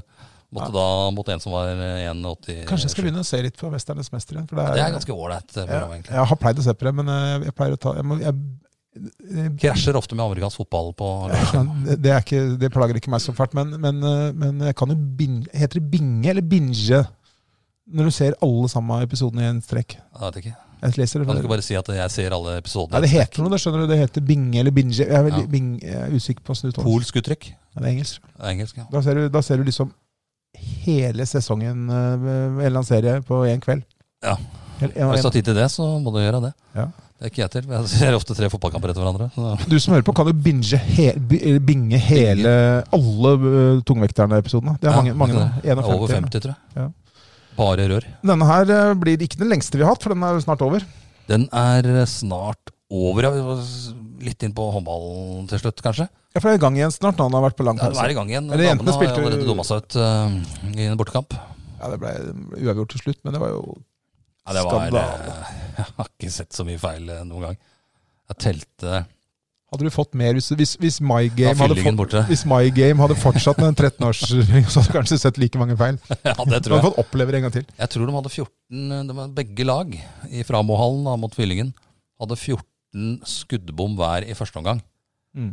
Speaker 3: måtte da mot en som var eh, 1,87.
Speaker 2: Kanskje jeg skal begynne å se litt på Mesternes mester igjen. For det er,
Speaker 3: Det er ganske ålreit eh, program,
Speaker 2: jeg,
Speaker 3: egentlig.
Speaker 2: jeg har pleid å se på det, men eh, jeg pleier å ta jeg må, jeg,
Speaker 3: Krasjer ofte med amerikansk fotball på
Speaker 2: ja, det, er ikke, det plager ikke meg så fælt, men, men, eh, men jeg kan jo bin, Heter det binge eller binge? Når du ser alle samme episodene i en strekk.
Speaker 3: Jeg vet ikke.
Speaker 2: Jeg leser det.
Speaker 3: Kan du
Speaker 2: for-
Speaker 3: ikke bare si at jeg ser alle
Speaker 2: Nei,
Speaker 3: episodene?
Speaker 2: det heter noe, det skjønner du. Det heter binge eller binge. Jeg er, veldig,
Speaker 3: Ja.
Speaker 2: bing- jeg er usikker på åssen det uttales.
Speaker 3: Polsk uttrykk.
Speaker 2: Ja, Det er engelsk.
Speaker 3: Engelsk, ja.
Speaker 2: Da ser du, da ser du liksom hele sesongen eh, med en eller annen serie på én kveld.
Speaker 3: Ja.
Speaker 2: En, en,
Speaker 3: Hvis du
Speaker 2: en.
Speaker 3: har tid til det, så må du gjøre det.
Speaker 2: Ja.
Speaker 3: Det er ikke jeg til. men Jeg ser ofte tre fotballkamper etter hverandre. Så.
Speaker 2: Du som hører på, kan jo binge he, bi- eller binge hele alle eh, tungvekterne-episodene. Det er mange.
Speaker 3: Ja,
Speaker 2: mange nå.
Speaker 3: det er
Speaker 2: 51.
Speaker 3: Over 50, tror jeg.
Speaker 2: Ja.
Speaker 3: Bare rør.
Speaker 2: Denne her eh, blir ikke den lengste vi har hatt, for den er jo snart over.
Speaker 3: Den er eh, snart over. Ja. Vi var s- Litt inn på håndballen til slutt, kanskje.
Speaker 2: Ja, for det er i gang igjen snart. Nå, den har vært på lang
Speaker 3: Ja, det er
Speaker 2: pause.
Speaker 3: i gang igjen.
Speaker 2: Eller jentene
Speaker 3: Damene har
Speaker 2: spilte-
Speaker 3: allerede dumma seg ut eh, i en bortekamp.
Speaker 2: Ja, det ble uavgjort til slutt, men det var jo
Speaker 3: Ja, det var,
Speaker 2: Skandale.
Speaker 3: eh, Jeg har ikke sett så mye feil eh, noen gang. Jeg telte
Speaker 2: Hadde du fått mer hvis, hvis, hvis My Game
Speaker 3: Da
Speaker 2: hadde,
Speaker 3: fyllingen
Speaker 2: fått-
Speaker 3: borte.
Speaker 2: hvis My Game hadde fortsatt med en 13-årsring, så hadde du kanskje sett like mange feil.
Speaker 3: Ja, det
Speaker 2: Du
Speaker 3: tror
Speaker 2: hadde
Speaker 3: jeg.
Speaker 2: fått oppleve det en gang til.
Speaker 3: Jeg tror de hadde 14 de hadde Begge lag i Framohallen da, mot Fyllingen hadde 14 skuddbom hver i første omgang.
Speaker 2: Mm.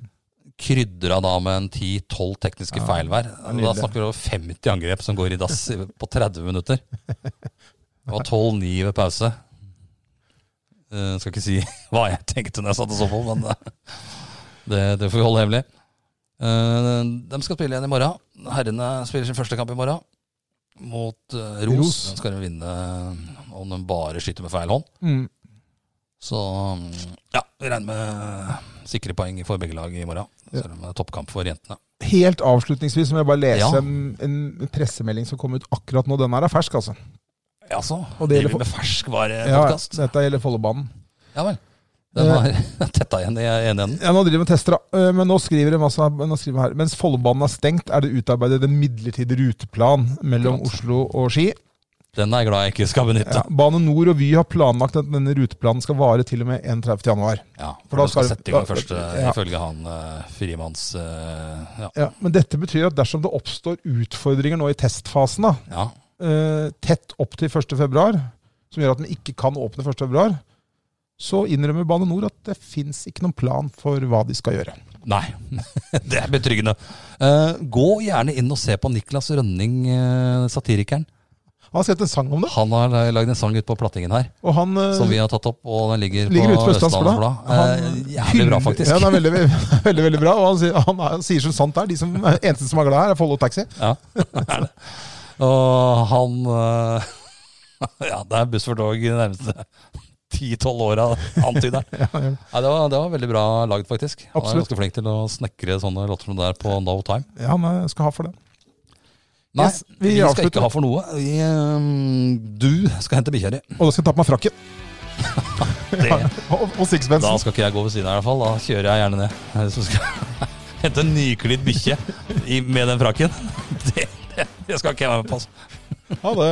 Speaker 3: krydra da med en 10-12 tekniske
Speaker 2: Ja,
Speaker 3: feil hver.
Speaker 2: er nydelig.
Speaker 3: Da snakker vi over 50 angrep som går i dass i- på 30 minutter. Det var 12-9 ved pause. Eh, skal ikke si hva jeg tenkte når jeg satt og så på, men eh, det, det får vi holde hemmelig. Eh, de skal spille igjen i morgen. Herrene spiller sin første kamp i morgen mot eh, Ros.
Speaker 2: Ros.
Speaker 3: Den skal de vinne om de bare skyter med feil hånd.
Speaker 2: Mm.
Speaker 3: Så um, ja, vi regner med sikre poeng for begge lag i morgen.
Speaker 2: Ja.
Speaker 3: Selv om det er toppkamp for jentene.
Speaker 2: Helt avslutningsvis må jeg bare lese
Speaker 3: Ja.
Speaker 2: en, en pressemelding som kom ut akkurat nå. Den her er fersk, altså.
Speaker 3: Ja så.
Speaker 2: Og det gjelder
Speaker 3: Driver vi med
Speaker 2: Ja, Eh.
Speaker 3: ferskvarepodkast. Ja,
Speaker 2: dette gjelder Follobanen.
Speaker 3: ja vel. Den har tetta igjen i ene enden.
Speaker 2: Ja, nå driver vi og tester, da. Eh, men nå skriver de altså nå skriver de her Mens Follobanen er stengt, er det utarbeidet en midlertidig ruteplan mellom
Speaker 3: Akkurat.
Speaker 2: Oslo og Ski.
Speaker 3: Den er jeg glad jeg ikke skal benytte.
Speaker 2: Ja. Bane Nor og Vy har planlagt at denne ruteplanen skal vare til og med 31. januar.
Speaker 3: Ja,
Speaker 2: da
Speaker 3: for du skal
Speaker 2: skal-
Speaker 3: sette i gang
Speaker 2: da-
Speaker 3: først, eh,
Speaker 2: ja.
Speaker 3: ifølge han eh, frimanns eh, ja.
Speaker 2: Ja, men dette betyr at dersom det oppstår utfordringer nå i testfasen, da,
Speaker 3: ja.
Speaker 2: eh, tett opp til 1. februar, som gjør at den ikke kan åpne 1. februar, så innrømmer Bane Nor at det fins ikke noen plan for hva de skal gjøre.
Speaker 3: Nei. det er betryggende. Eh, gå gjerne inn og se på Niklas Rønning, eh, satirikeren.
Speaker 2: Han har skrevet en sang om det,
Speaker 3: Han har eh, lagd en sang ute på plattingen her.
Speaker 2: og han eh,
Speaker 3: Som vi har tatt opp, og den ligger,
Speaker 2: ligger ute
Speaker 3: på
Speaker 2: på
Speaker 3: Østlandets Blad. Eh,
Speaker 2: Han
Speaker 3: jævlig bra,
Speaker 2: hyller-
Speaker 3: faktisk.
Speaker 2: Ja, det er veldig, veldig, veldig, veldig bra. Og han sier, han, er- han sier som sant er. De som er eneste som er glad her, er Follo Taxi.
Speaker 3: Ja, det er det. Og han eh, Ja, det er buss for tog i nærmeste ti-tolv åra antyder. Nei, det, var, det var veldig bra lagd, faktisk. Han er
Speaker 2: Absolutt.
Speaker 3: ganske flink til å snekre sånne låter som det der på no time.
Speaker 2: Ja, han skal ha for det.
Speaker 3: Nei,
Speaker 2: Yes, vi
Speaker 3: vi, skal
Speaker 2: avslutter.
Speaker 3: ikke ha for noe. Vi, ehm, du skal hente bikkja di.
Speaker 2: Og da skal jeg ta på meg frakken.
Speaker 3: Det-
Speaker 2: Og, og
Speaker 3: Da
Speaker 2: sixpensen.
Speaker 3: skal ikke jeg gå ved siden av, i hvert fall. Da kjører jeg gjerne ned. Så skal jeg hente en nyklidd bikkje i- med den frakken. Det, det, det skal ikke jeg være med på. altså.
Speaker 2: Ha det.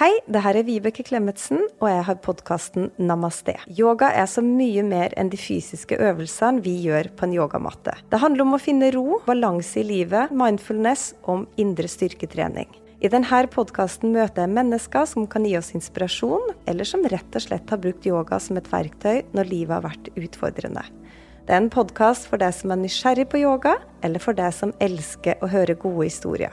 Speaker 1: Hei, det her er Vibeke Klemetsen, og jeg har podkasten Namaste. Yoga er så mye mer enn de fysiske øvelsene vi gjør på en yogamatte. Det handler om å finne ro, balanse i livet, mindfulness, om indre styrketrening. I denne podkasten møter jeg mennesker som kan gi oss inspirasjon, eller som rett og slett har brukt yoga som et verktøy når livet har vært utfordrende. Det er en podkast for deg som er nysgjerrig på yoga, eller for deg som elsker å høre gode historier.